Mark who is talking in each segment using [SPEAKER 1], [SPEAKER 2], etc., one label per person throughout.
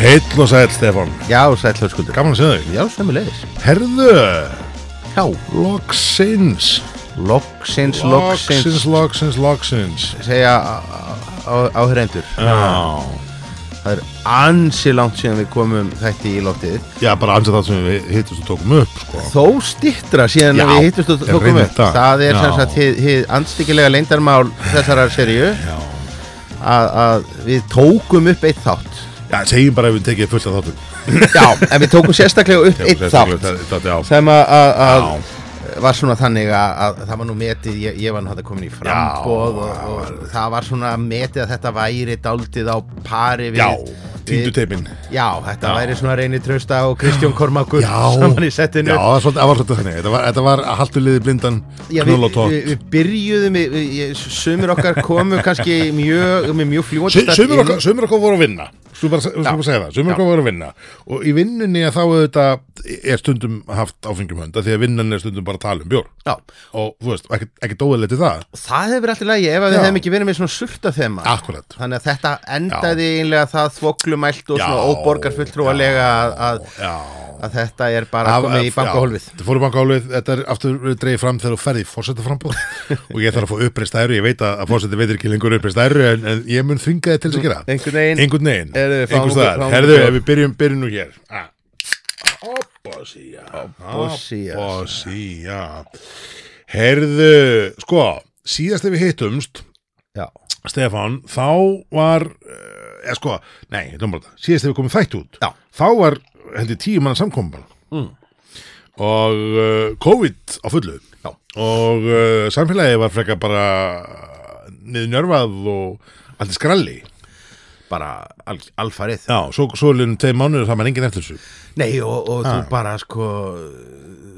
[SPEAKER 1] Heill og sæll, Stefán.
[SPEAKER 2] Já, sæll hörskuldur
[SPEAKER 1] Gaman að segja þau.
[SPEAKER 2] Já, sömulegis
[SPEAKER 1] Herðu,
[SPEAKER 2] Já,
[SPEAKER 1] loksins.
[SPEAKER 2] loksins, loksins,
[SPEAKER 1] Loksins, loksins, loksins.
[SPEAKER 2] Segja á- á- áheyrendur
[SPEAKER 1] Já.
[SPEAKER 2] Það er ansi langt síðan við komum þætti í loftið
[SPEAKER 1] Já, bara ansið það sem við hittumst og tókum upp, sko.
[SPEAKER 2] Þó stittra síðan
[SPEAKER 1] Já,
[SPEAKER 2] að við hittust og
[SPEAKER 1] ég
[SPEAKER 2] tókum
[SPEAKER 1] reyni
[SPEAKER 2] upp
[SPEAKER 1] það.
[SPEAKER 2] Það er sem
[SPEAKER 1] Já.
[SPEAKER 2] sagt hið, hið anstíkilega leyndarmál þessarar serju
[SPEAKER 1] Já.
[SPEAKER 2] að, að við tókum upp eitt þátt
[SPEAKER 1] Já, segjum bara ef við tekið fullt af þáttum.
[SPEAKER 2] Já, en við tókum sérstaklega upp eitt þátt
[SPEAKER 1] Þátt, já.
[SPEAKER 2] sem að- að að
[SPEAKER 1] Já.
[SPEAKER 2] var svona þannig að, að það var nú metið, ég, ég var nú þetta komin í frambóð
[SPEAKER 1] Já,
[SPEAKER 2] og, og það var svona metið að þetta væri daldið á pari við
[SPEAKER 1] Já, týndu
[SPEAKER 2] við-
[SPEAKER 1] teipin.
[SPEAKER 2] Já, þetta
[SPEAKER 1] Já.
[SPEAKER 2] væri svona reyni trösta og Kristjón Kormakur saman í
[SPEAKER 1] Já,
[SPEAKER 2] settinu
[SPEAKER 1] það var svolítið- það var svolítið þannig. Þetta var, þetta var að haltu liði blindan,
[SPEAKER 2] Já, við,
[SPEAKER 1] knull og tótt.
[SPEAKER 2] við, við byrjuðum, við, við, ég- sumir okkar komu kannski mjög, með mjög
[SPEAKER 1] Sö-
[SPEAKER 2] fljóðstætt
[SPEAKER 1] Sumir okkar, sumir okkar voru að vinna Svo bara, svo bara segja það, sumir okkar voru að vinna og í vinnunni að þá auðvitað er stundum haft áfengjum hönda því að vinnan er stundum bara að tala um bjór
[SPEAKER 2] Já,
[SPEAKER 1] og þú veist, ekki, ekki dóðilegt til það
[SPEAKER 2] það hefur alltaf lægi ef að við
[SPEAKER 1] Já.
[SPEAKER 2] hefum ekki verið með svona surta þema
[SPEAKER 1] Akkurat,
[SPEAKER 2] Þannig að þetta endaði einlega það þvoklumælt og svona
[SPEAKER 1] Já,
[SPEAKER 2] óborgarfulltrúalega að, að,
[SPEAKER 1] já
[SPEAKER 2] að þetta er bara
[SPEAKER 1] Af-
[SPEAKER 2] komið
[SPEAKER 1] af-
[SPEAKER 2] í bankahólfið.
[SPEAKER 1] já, Þetta fór í bankahólfið, þetta er aftur dreigð fram þegar þú ferði fórsetta frambúð og ég þarf að fá uppreist æru, ég veit að, að fórsetta veitir ekki lengur uppreist æru en, en ég mun þvinga þið til þess að gera
[SPEAKER 2] Einhvern veginn.
[SPEAKER 1] Einhvern veginn,
[SPEAKER 2] Heyrðu, við fáum
[SPEAKER 1] einhvers
[SPEAKER 2] okkur-
[SPEAKER 1] staðar
[SPEAKER 2] fáum
[SPEAKER 1] Herðu,
[SPEAKER 2] okkur-
[SPEAKER 1] ef við byrjum, byrjum nú hér Ah. Obbosía
[SPEAKER 2] Obbosía.
[SPEAKER 1] Obbosía Herðu, sko, síðast ef við hittumst
[SPEAKER 2] Já,
[SPEAKER 1] Stefán, þá var eh, eða sko, nei, þetta var bara það síðast ef við komum þætt út,
[SPEAKER 2] Já.
[SPEAKER 1] þá var hendi tíu manna samkomban mm. og uh, COVID á fullu
[SPEAKER 2] Já.
[SPEAKER 1] og uh, samfélagið var frekar bara niðurnjörfað og allir skralli
[SPEAKER 2] bara al, alfarið.
[SPEAKER 1] Já, svo, svo lennum tveim mánuður það maður enginn eftir þessu
[SPEAKER 2] Nei, og, og þú bara sko,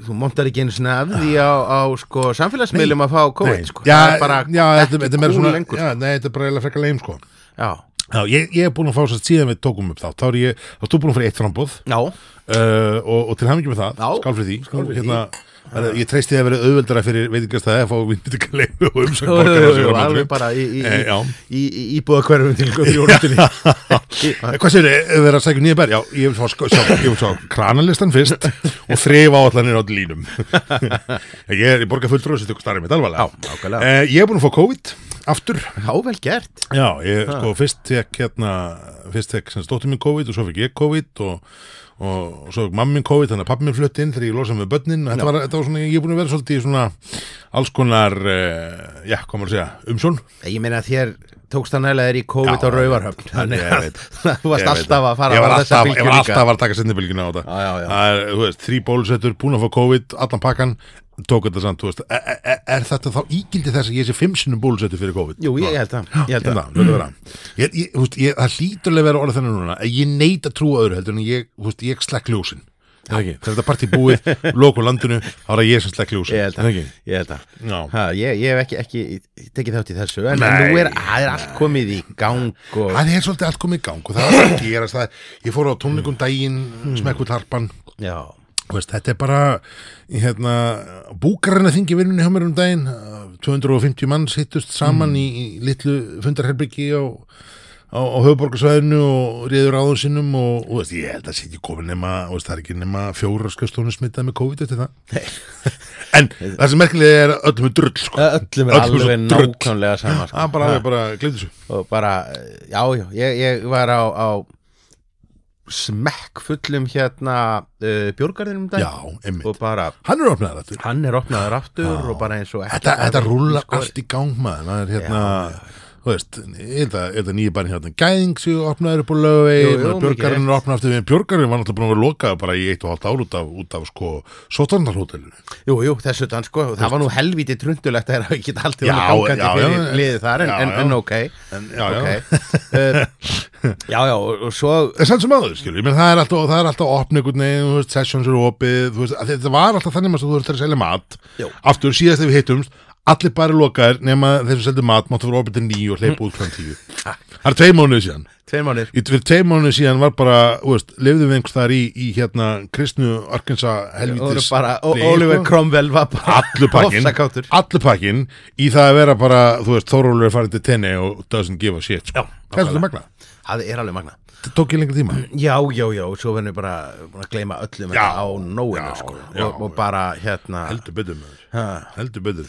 [SPEAKER 2] þú montar ekki einu sinna af því á, á sko samfélagsmiðlum að fá
[SPEAKER 1] Nei.
[SPEAKER 2] COVID, sko.
[SPEAKER 1] Já,
[SPEAKER 2] Það er bara
[SPEAKER 1] já, þetta, þetta er meira
[SPEAKER 2] cool
[SPEAKER 1] svona
[SPEAKER 2] lengur, sko.
[SPEAKER 1] já, Nei, þetta er bara eiginlega frekar leim sko
[SPEAKER 2] Já,
[SPEAKER 1] Já, ég, ég er búin að fá þess að síðan við tókum upp þá þá er ég, þá er þú búin að fyrir eitt frambóð
[SPEAKER 2] já,
[SPEAKER 1] uh, og, og til hamingi með það,
[SPEAKER 2] Já.
[SPEAKER 1] skál fyrir því
[SPEAKER 2] Skál fyrir
[SPEAKER 1] hérna, því Ég treysti að vera auðveldara fyrir veitingastæði að fá vinnbyttingarleifu og umsögn
[SPEAKER 2] Jú, jú,
[SPEAKER 1] borgara
[SPEAKER 2] jú,
[SPEAKER 1] sem
[SPEAKER 2] jú,
[SPEAKER 1] var á
[SPEAKER 2] alveg
[SPEAKER 1] móti.
[SPEAKER 2] bara í, í,
[SPEAKER 1] Eh, já.
[SPEAKER 2] í, í, í búðakverfum til góð jólundinni.
[SPEAKER 1] Eh, Hvað segir þið, þau verða að segja nýja bær? Já, ég vil fá, sko- sjá, ég vil sjá kranalistan fyrst og þrif áallanir á línum Ég er í borga fulltrú þessi tökur starfið mitt alvarlega
[SPEAKER 2] Já, nákvæmlega.
[SPEAKER 1] Eh, Ég er búin að fá COVID aftur
[SPEAKER 2] Já, vel gert.
[SPEAKER 1] Já, ég sko fyrst tek hérna fyrst tek sem stóttum minn COVID og svo fikk ég COVID og, og, og svo fikk mamma minn COVID þannig að pappi minn flutt inn þegar ég losa með börnin og þetta var, þetta var svona, ég er búin að vera svolítið í svona alls konar uh, já, hvað maður að segja, umsjón
[SPEAKER 2] Ég meina að þér tókst hann eða er í
[SPEAKER 1] Já,
[SPEAKER 2] COVID á rauvarhöfn. Þannig
[SPEAKER 1] ég
[SPEAKER 2] að
[SPEAKER 1] veit.
[SPEAKER 2] þú varst
[SPEAKER 1] Ég veit
[SPEAKER 2] alltaf að fara
[SPEAKER 1] Ég var
[SPEAKER 2] á þessa
[SPEAKER 1] alltaf,
[SPEAKER 2] bylgju
[SPEAKER 1] ég var
[SPEAKER 2] líka.
[SPEAKER 1] alltaf að fara að taka sendibylgjuna á þetta
[SPEAKER 2] Já, já, já.
[SPEAKER 1] Það er, þú veist, þrý bólusettur, búin að fá COVID, allan pakkan tók þetta samt, þú veist, er, er, er þetta þá ígildi þess að ég sé fimm sinnum bólusettur fyrir COVID?
[SPEAKER 2] Jú, ég held að, ég held að.
[SPEAKER 1] Hérna, þetta vera. Ég, ég, þú veist, ég, það hlýturlega vera orðið þennan núna að ég neyta trú öðru heldur en ég, þú veist, ég slekk ljósin Þegar þetta partí búið, loku landinu þá er það ég sem slekk ljósin
[SPEAKER 2] Ég held að, ég held að.
[SPEAKER 1] Já.
[SPEAKER 2] Ha, ég, ég hef ekki, ekki tekið þátt í þessu en, en
[SPEAKER 1] Nei.
[SPEAKER 2] nú er, það er allt komið í gang og
[SPEAKER 1] Það er svolítið allt komið í gang og það er ekki gerast það, ég fór á tónleikum daginn,
[SPEAKER 2] Hmm.
[SPEAKER 1] smekkuð harpan
[SPEAKER 2] já,
[SPEAKER 1] Þú veist, þetta er bara hérna, búkarinn að þingi vinnunni hjá mér um daginn 250 mann sittust saman í, í litlu fundarherbyggi á, á, á höfuborgarsvæðinu og reyður áður sinnum og, og þú veist, ég held að sitja komin nema þú veist, það er ekki nema fjóra skjöstónu smittað með COVID eftir það en það sem merkilega er að öllum er drull sko.
[SPEAKER 2] öllum er
[SPEAKER 1] svo
[SPEAKER 2] alveg
[SPEAKER 1] drull.
[SPEAKER 2] nákvæmlega sama
[SPEAKER 1] það
[SPEAKER 2] sko.
[SPEAKER 1] er bara, alveg bara glemt þessu
[SPEAKER 2] og bara, já, já, ég, ég var á, á smekk fullum hérna uh, björgarðinum um
[SPEAKER 1] já,
[SPEAKER 2] dag
[SPEAKER 1] einmitt,
[SPEAKER 2] og bara,
[SPEAKER 1] hann er opnaðar aftur
[SPEAKER 2] hann er opnaður aftur og bara eins og
[SPEAKER 1] Þetta, þetta rúlar
[SPEAKER 2] sko,
[SPEAKER 1] allt í gang maður, maður er hérna, þú veist, er það, er það nýja barn hérna, gæðing sem opnaður upp á
[SPEAKER 2] Jú, jú,
[SPEAKER 1] lögvegi,
[SPEAKER 2] mikið
[SPEAKER 1] björgarinn er
[SPEAKER 2] rétt.
[SPEAKER 1] opnað aftur við, björgarinn var náttúrulega búin að vera lokað bara í eitt og hálft ár út af, út af sko, sótarnarhótelinu.
[SPEAKER 2] Jú, jú, þessu utan sko, og það var nú helviti trundulegt að það geta haldið hann
[SPEAKER 1] Já, já,
[SPEAKER 2] gangandi
[SPEAKER 1] já,
[SPEAKER 2] fyrir
[SPEAKER 1] en-
[SPEAKER 2] liðið þar en,
[SPEAKER 1] já,
[SPEAKER 2] en,
[SPEAKER 1] já.
[SPEAKER 2] en ok,
[SPEAKER 1] En, já,
[SPEAKER 2] ok
[SPEAKER 1] já.
[SPEAKER 2] uh, Já, já, og, og svo
[SPEAKER 1] En samt sem aður, skilur, ég menn það er alltaf, það er alltaf opn einhvern veginn, þú veist, sessions eru opið, þú veist, að þetta var alltaf þannig maður að þú veist, það er selja mat,
[SPEAKER 2] Jú.
[SPEAKER 1] aftur síðast ef við hittumst, allir bara lokaðir nema þeir sem seldu mat, máttu vera opið til nýju og hleypa út klant tíu. Það er tvei mánuðið síðan.
[SPEAKER 2] Tveir mánir
[SPEAKER 1] Í fyrir tveim mánu síðan var bara, þú veist, lifðum við einhvers þar í, í hérna kristnu Arkensa
[SPEAKER 2] Það voru
[SPEAKER 1] helvítis
[SPEAKER 2] bara, og
[SPEAKER 1] Nei,
[SPEAKER 2] Oliver
[SPEAKER 1] sko.
[SPEAKER 2] Cromwell var bara
[SPEAKER 1] Allur pakkinn,
[SPEAKER 2] ofsakáttur.
[SPEAKER 1] allur pakkinn í það að vera bara, þú veist, Þórólur er farin til tenni og doesn't give a shit, sko.
[SPEAKER 2] Já,
[SPEAKER 1] Hvað er þetta magna?
[SPEAKER 2] Það er alveg magna
[SPEAKER 1] samt tók ég lengur tíma
[SPEAKER 2] Já, já, já, svo verðum við bara búin að gleyma öllum
[SPEAKER 1] Já,
[SPEAKER 2] þetta á nóinu
[SPEAKER 1] já,
[SPEAKER 2] sko
[SPEAKER 1] já.
[SPEAKER 2] og, og bara hérna
[SPEAKER 1] heldur betur maður
[SPEAKER 2] ha,
[SPEAKER 1] heldur betur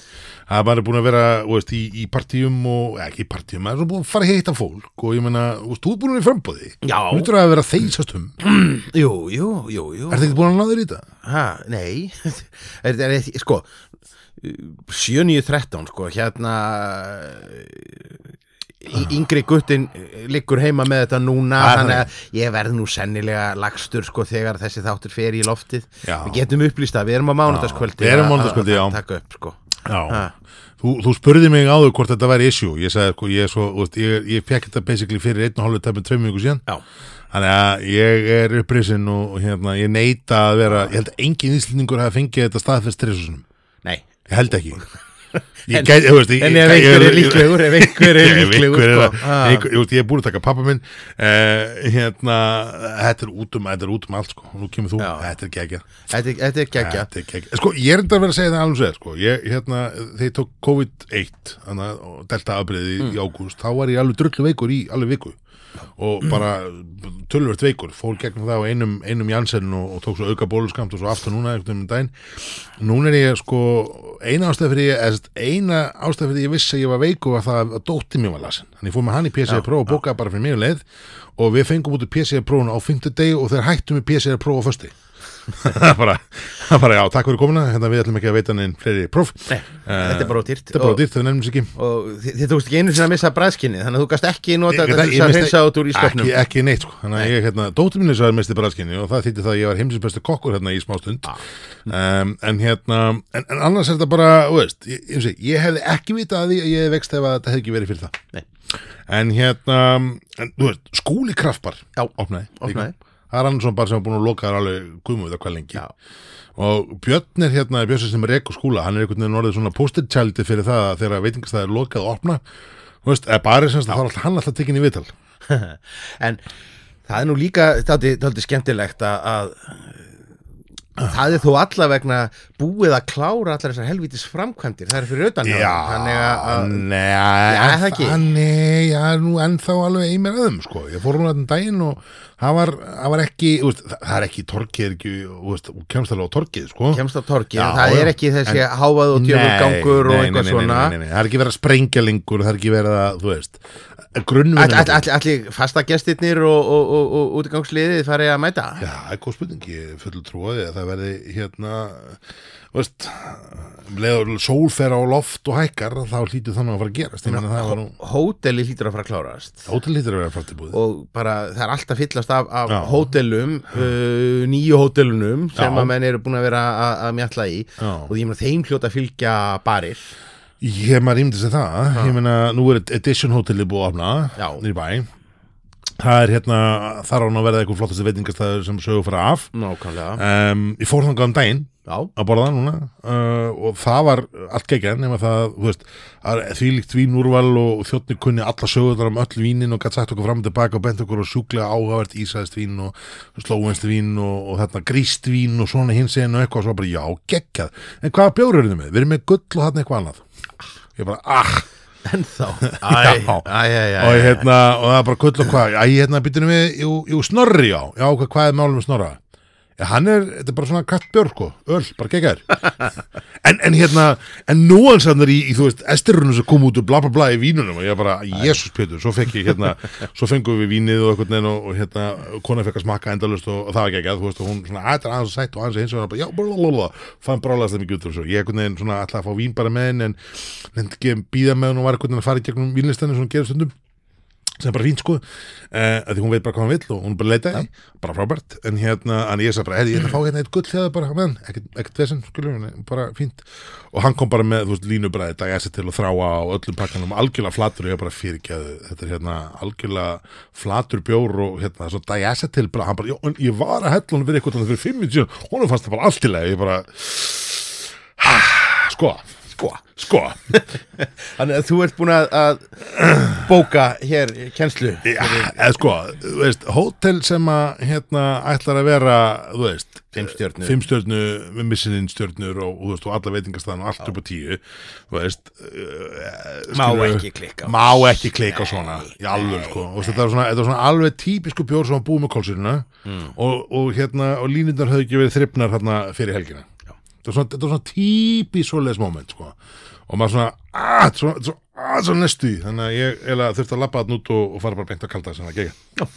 [SPEAKER 1] að maður er búin að vera þú veist, í, í partíum og eða ekki í partíum maður er svo búin að fara að hitta fólk og ég meina þú veist, þú er búin að vera í frambóði
[SPEAKER 2] Já.
[SPEAKER 1] þú ert að vera að þeysast um er
[SPEAKER 2] Jú, jú, jú, jú
[SPEAKER 1] þetta ekki búin að náður í þetta?
[SPEAKER 2] ha, Nei, er, er, er, sko 7.9.13 sko, hérna í-
[SPEAKER 1] Ah.
[SPEAKER 2] yngri guttin liggur heima með þetta núna
[SPEAKER 1] Ha,
[SPEAKER 2] þannig að ég verð nú sennilega lagstur sko þegar þessi þáttur fer í loftið
[SPEAKER 1] Já.
[SPEAKER 2] við getum upplýst það, við erum á mánudagskvöldi
[SPEAKER 1] Já, við erum á
[SPEAKER 2] að- að-
[SPEAKER 1] mánudagskvöldi, já.
[SPEAKER 2] að taka upp sko
[SPEAKER 1] Já, þú, þú spurði mig áður hvort þetta væri issue ég sagði sko, ég, er svo, þú veist, ég, ég fekk þetta basically fyrir einn og hálfu tæmi tveim mjögur síðan
[SPEAKER 2] Já,
[SPEAKER 1] þannig að ég er upprisin og og hérna, ég neita að vera ég held að engin íslendingur hafi fengið þetta staðfest þrissunum,
[SPEAKER 2] nei
[SPEAKER 1] ég held ekki
[SPEAKER 2] En-
[SPEAKER 1] Ég gæti, þú veist, ég-
[SPEAKER 2] En
[SPEAKER 1] ég-
[SPEAKER 2] ef
[SPEAKER 1] ég-
[SPEAKER 2] einhver er
[SPEAKER 1] ég-
[SPEAKER 2] líklegur, ef einhver er
[SPEAKER 1] Ef
[SPEAKER 2] líklegur
[SPEAKER 1] einhver er
[SPEAKER 2] sko.
[SPEAKER 1] að-
[SPEAKER 2] Ah.
[SPEAKER 1] einhver- Ég veit, ég er búin að taka pappa minn eh, hérna, þetta er út um þetta er út um allt, sko, nú kemur þú
[SPEAKER 2] Já.
[SPEAKER 1] þetta er gegja
[SPEAKER 2] Þetta er- þetta er geggja
[SPEAKER 1] Þetta er geggjað. Sko, ég er enda að vera að segja það alveg sér, sko. Ég, hérna, þegar ég tók COVID-1, þannig að og delta afbreiði í ágúst, þá var ég alveg drullu veikur í alveg viku og bara tölvört veikur fór gegnum það á einum, einum Janssen og, og tók svo auka bóluskamt og svo aftur núna einhvern veginn um daginn. Núna er ég sko eina ástæð fyrir ég, eða sem sagt, eina ástæð fyrir ég vissi að ég var veiku var það að dótti mér var lasin. Þannig ég fór með hann í PCA Pro og bókaði bara fyrir mig um leið og við fengum út í PCA Pro á fimmtudegi og þeir hættum í PCA Pro á fösti. Það er bara, það er bara, já, takk fyrir komuna hérna við ætlum ekki að veita neinn fleiri próf Eh,
[SPEAKER 2] Nei, Þetta er bara ódýrt
[SPEAKER 1] þetta er bara dýrt, þau nefnum sér ekki
[SPEAKER 2] Og, og þi- þið tókst ekki einu sinni að missa bræðskinni Þannig að þú gast ekki nota
[SPEAKER 1] Ég- ég-
[SPEAKER 2] þetta til þess að
[SPEAKER 1] ég-
[SPEAKER 2] hreinsa út úr í
[SPEAKER 1] ekki,
[SPEAKER 2] sköpnum
[SPEAKER 1] ekki neitt sko þannig að ég, hérna, dóttir mínu svo er mesti bræðskinni og það þýtti það að ég var heimsins bestu kokkur hérna í smástund
[SPEAKER 2] Ah.
[SPEAKER 1] um, en hérna, en, en annars er þetta bara þú veist, ég, ég, ég, ég hefði ekki vitað að því að ég hefði vext ef að þetta hefði ekki verið fyrir það
[SPEAKER 2] Nei.
[SPEAKER 1] en hérna en, þú veist, skúli kraftbar
[SPEAKER 2] Já,
[SPEAKER 1] opnaði, líka.
[SPEAKER 2] opnaði.
[SPEAKER 1] það er annars bar sem er búin að loka þar alveg guðmúið hvað lengi
[SPEAKER 2] Já.
[SPEAKER 1] og Björn er hérna, Björn sem er ekkur skúla hann er einhvern veginn orðið svona postertjaldi fyrir það að þegar veitingastæði er lokað og opna þú veist, eða bara sem það var alltaf hann alltaf tekinn í viðtal
[SPEAKER 2] En það er nú líka Þáttu skemmtilegt að, að Það er þó allavegna búið að klára allar þessar helvítis framkvæmdir Það er fyrir utan hjá þeim. Þannig að, að
[SPEAKER 1] Nei,
[SPEAKER 2] Já, það ekki.
[SPEAKER 1] Nei, já, nú ennþá alveg einmer aðum, sko Ég fór hún að daginn og það var, það var ekki, þú veist, það er ekki torkið er ekki, þú veist, þú kemst alveg á torkið, sko
[SPEAKER 2] kemst á torgi
[SPEAKER 1] Já,
[SPEAKER 2] Það er
[SPEAKER 1] já.
[SPEAKER 2] ekki þessi
[SPEAKER 1] En-
[SPEAKER 2] hávað og djöfur gangur og
[SPEAKER 1] nei, nei,
[SPEAKER 2] eitthvað
[SPEAKER 1] nei, nei,
[SPEAKER 2] svona
[SPEAKER 1] nei, nei, nei, það er ekki verið að sprengja lengur, það er ekki verið að, þú veist Grunnvinna
[SPEAKER 2] Allir all, all, all, fastagestirnir og, og, og, og útgangsliðið farið að mæta
[SPEAKER 1] Já, það er góð spurning, ég fullu trúaði að það verði hérna, þú veist, um leið og sól fer á loft og hækkar, þá hlýtur þannig að fara að gerast, ég meina það var nú,
[SPEAKER 2] hóteli hlýtur að fara að klárast
[SPEAKER 1] hótel hlýtur að vera framtíðbúðið.
[SPEAKER 2] og bara það er alltaf fyllast af, af
[SPEAKER 1] Já.
[SPEAKER 2] hótelum uh, nýju hótelunum sem
[SPEAKER 1] Já.
[SPEAKER 2] að menn eru búin að vera að, að mjalla í
[SPEAKER 1] Já.
[SPEAKER 2] og ég meina þeim hljóta að fylgja barir
[SPEAKER 1] Ég maður ímyndi sér það, ég meina nú er Edition Hotelið búið að opna
[SPEAKER 2] Já.
[SPEAKER 1] nýr bæ Það er hérna, þar á hann að verða eitthvað flottasti veitingastæður sem sögur fara af
[SPEAKER 2] Nákvæmlega
[SPEAKER 1] um, Ég fór þangað um daginn
[SPEAKER 2] Já,
[SPEAKER 1] að borða það núna uh, og það var allt geggjað nema það, þú veist, að þvílíkt vínúrval og þjóttni kunni alla sögurnar um öll vínin og gætt sagt okkur fram og tilbaka og bent okkur og sjúklega áhugavert ísæðist vín og slóvenst vín og, og þarna gríst vín og svona hins einu og eitthvað og svo bara já, geggjað, en hvaða bjóru eru þið með? Við erum með gull og þarna eitthvað annað ég bara, ah,
[SPEAKER 2] ennþá Æ,
[SPEAKER 1] Já.
[SPEAKER 2] æ, æ, æ,
[SPEAKER 1] og
[SPEAKER 2] æ.
[SPEAKER 1] hérna, og það er bara gull og hvað æ, hérna, býtum við, jú, jú, snorri, já já, hvað, hvað er málum með snorra? Ja, hann er, þetta er bara svona kattbjörn, sko öll, bara geggar en, en hérna, en núansannar í, í þú veist, esterunum sem kom út og bla bla bla í vínunum og ég bara, jésus Pétur, svo fekk ég hérna, svo fengum við vínið og eitthvað neina og, og hérna, kona fekk að smakka endalust og, og það var geggjað, þú veist, og hún svona, að þetta er aðeins sætt og aðeins hins og hann bara, já, blablabla fann brálaðast það mikið út úr þessu, ég eitthvað neina svona alltaf að fá vín bara með henn en nefndi ekki að býða með henn og var eitthvað neina að fara í gegnum vínlistanum sem hún gerir stundum sem er bara fínt sko uh, að því hún veit bara hvað hann vill og hún er bara leita ja. bara frábært, en hérna, en ég sagði bara "Heyrðu, ég ætla að fá hérna eitt gull hérna bara með hann ekkert, ekkert vesinn, skulum, nei, bara fínt og hann kom bara með, þú veist, línubræði dag essi til að þráa á öllum pakkanum, algjörlega flatur og ég bara fyrirgæðu, þetta er hérna algjörlega flatur bjór og hérna svo dag essi til, bara, hann bara, já, en ég var að hella hann fyrir eitthvað þarna fyrir fimm minn síðan honum fannst það bara allt í lagi, ég bara sko, sko, sko
[SPEAKER 2] Þannig að þú ert búin að, að bóka hér kennslu
[SPEAKER 1] Já, eða sko, þú veist, hótel sem að hérna ætlar að vera, þú veist,
[SPEAKER 2] Fimm stjörnur.
[SPEAKER 1] fimm stjörnu, með missilinn stjörnur og, og, þú veist, og alla veitingastæðan og allt upp á tíu þú veist uh,
[SPEAKER 2] Má
[SPEAKER 1] skilurðu,
[SPEAKER 2] ekki klikka á-
[SPEAKER 1] má ekki klikka á svona í alveg sko og þetta var svona, þetta var svona alveg típisku bjór sem var búið með kólsýruna
[SPEAKER 2] Mm.
[SPEAKER 1] og, og hérna og línundar höfðu ekki verið þrifnar hérna fyrir helgina
[SPEAKER 2] Já.
[SPEAKER 1] þetta var svona, þetta var svona típis svoleiðis moment sko og maður svona, "Ah, að, svona, svona, að, svona næstu í. þannig að ég eiginlega þurfti að labba þarna út og, og fara bara beint að kalda sem að gegja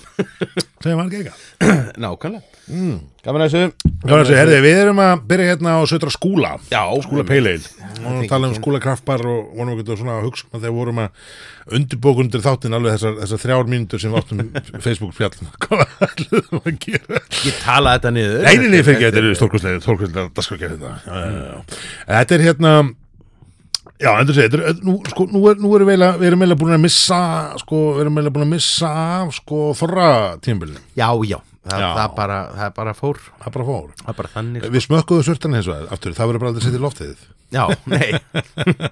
[SPEAKER 1] sem var gegja
[SPEAKER 2] Nákvæmlega Gaman að þessu
[SPEAKER 1] Já, þessi, herði, við erum að byrja hérna á sötra skúla
[SPEAKER 2] Já,
[SPEAKER 1] skúla peileil og tala um skúla kraftbar og vonum við getum svona að hugsa um að þegar vorum að undirbókundir þáttinn alveg þessar, þessar þrjár mínútur sem við áttum Facebook fjall hvað ætlum við að gera
[SPEAKER 2] Ég tala þetta niður
[SPEAKER 1] eininni fengið þetta eru stórkustlega stórkustlega daskargerð þetta hérna. Já, já, já. þetta er hérna Já, endur segja, þetta er, nú, sko, nú, er, nú erum við eiginlega- við erum eiginlega búin að missa sko, við erum eiginlega búin að missa af, sko, þorra tímbilin,
[SPEAKER 2] Já, já, það,
[SPEAKER 1] Já.
[SPEAKER 2] Það, bara, það bara fór
[SPEAKER 1] það er bara fór
[SPEAKER 2] Það er bara þannig
[SPEAKER 1] Við smökkuðu surtan hins vegar, aftur, það verður bara aldrei sett í loftið
[SPEAKER 2] Já, nei,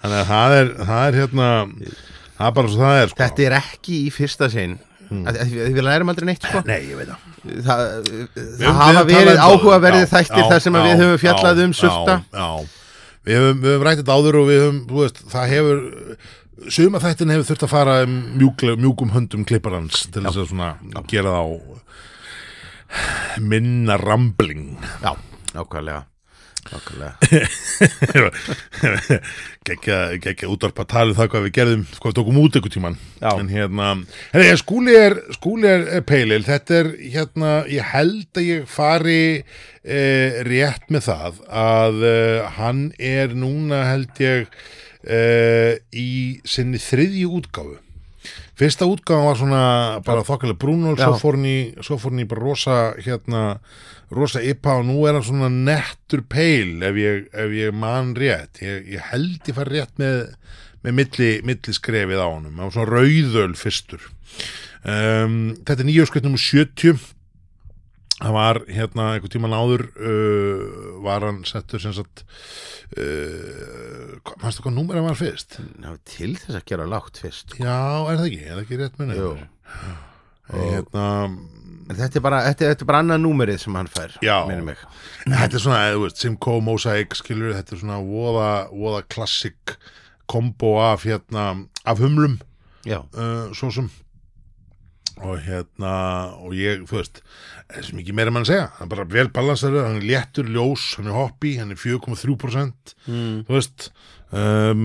[SPEAKER 1] Þannig að það er, það er hérna Það er bara svo það er sko
[SPEAKER 2] þetta er ekki í fyrsta sinn mm. að, að, Við lærum aldrei neitt sko
[SPEAKER 1] Nei, ég veit það
[SPEAKER 2] Það, það
[SPEAKER 1] Við-
[SPEAKER 2] hafa
[SPEAKER 1] við
[SPEAKER 2] verið
[SPEAKER 1] talaðum um
[SPEAKER 2] áhugaverðið
[SPEAKER 1] það.
[SPEAKER 2] þættir
[SPEAKER 1] Já,
[SPEAKER 2] þar sem að
[SPEAKER 1] já,
[SPEAKER 2] við höfum fjallað
[SPEAKER 1] já,
[SPEAKER 2] um sulta
[SPEAKER 1] Já, já. Við höfum, við höfum rættið áður og við höfum, þú veist, það hefur Suma þættin hefur þurft að fara um mjúkle, mjúkum höndum klipparans til þess að svona gera það á minna rambling
[SPEAKER 2] Já, nákvæmlega Nákvæmlega
[SPEAKER 1] gekkja, gekkja útvarpa talið um það hvað við gerðum, hvað við tókum út ykkur tíman
[SPEAKER 2] Já.
[SPEAKER 1] en hérna, hérna ég, skúli er skúli er, er peilil, þetta er hérna, ég held að ég fari e, rétt með það að e, hann er núna held ég e, í sinni þriðju útgáfu Fyrsta útgáðan var svona bara þokkilega brúnul, svo
[SPEAKER 2] Já.
[SPEAKER 1] fór hann í, svo fór hann í bara rosa, hérna, rosa ypa og nú er hann svona nettur peil ef ég, ef ég man rétt. Ég, ég held ég fara rétt með, með milli, milli skrefið á honum, hann var svona rauðöl fyrstur. Um, þetta er nýju skveitnum 70, það var hérna einhvern tíman áður uh, var hann settur sem sagt, uh, hvað- manstu hvað númer hann var fyrst?
[SPEAKER 2] Ná, Til þess að gera lágt fyrst
[SPEAKER 1] Já, er það ekki, er það ekki rétt munið?
[SPEAKER 2] Jú.
[SPEAKER 1] Hérna,
[SPEAKER 2] En þetta er bara, þetta, þetta er bara annað númerið sem hann fær
[SPEAKER 1] Já.
[SPEAKER 2] minnir mig.
[SPEAKER 1] þetta er svona, þú veist, Simcoe Mosaic, skilur, þetta er svona voða, voða klassik kombo af, hérna, af humlum,
[SPEAKER 2] Já.
[SPEAKER 1] uh, svo sem, og hérna, og ég, þú veist, það er sem ekki meira mann að segja, hann er bara vel balansaður, hann er léttur, ljós, hann er hoppi, hann er 4,3%,
[SPEAKER 2] Mm.
[SPEAKER 1] þú veist, um,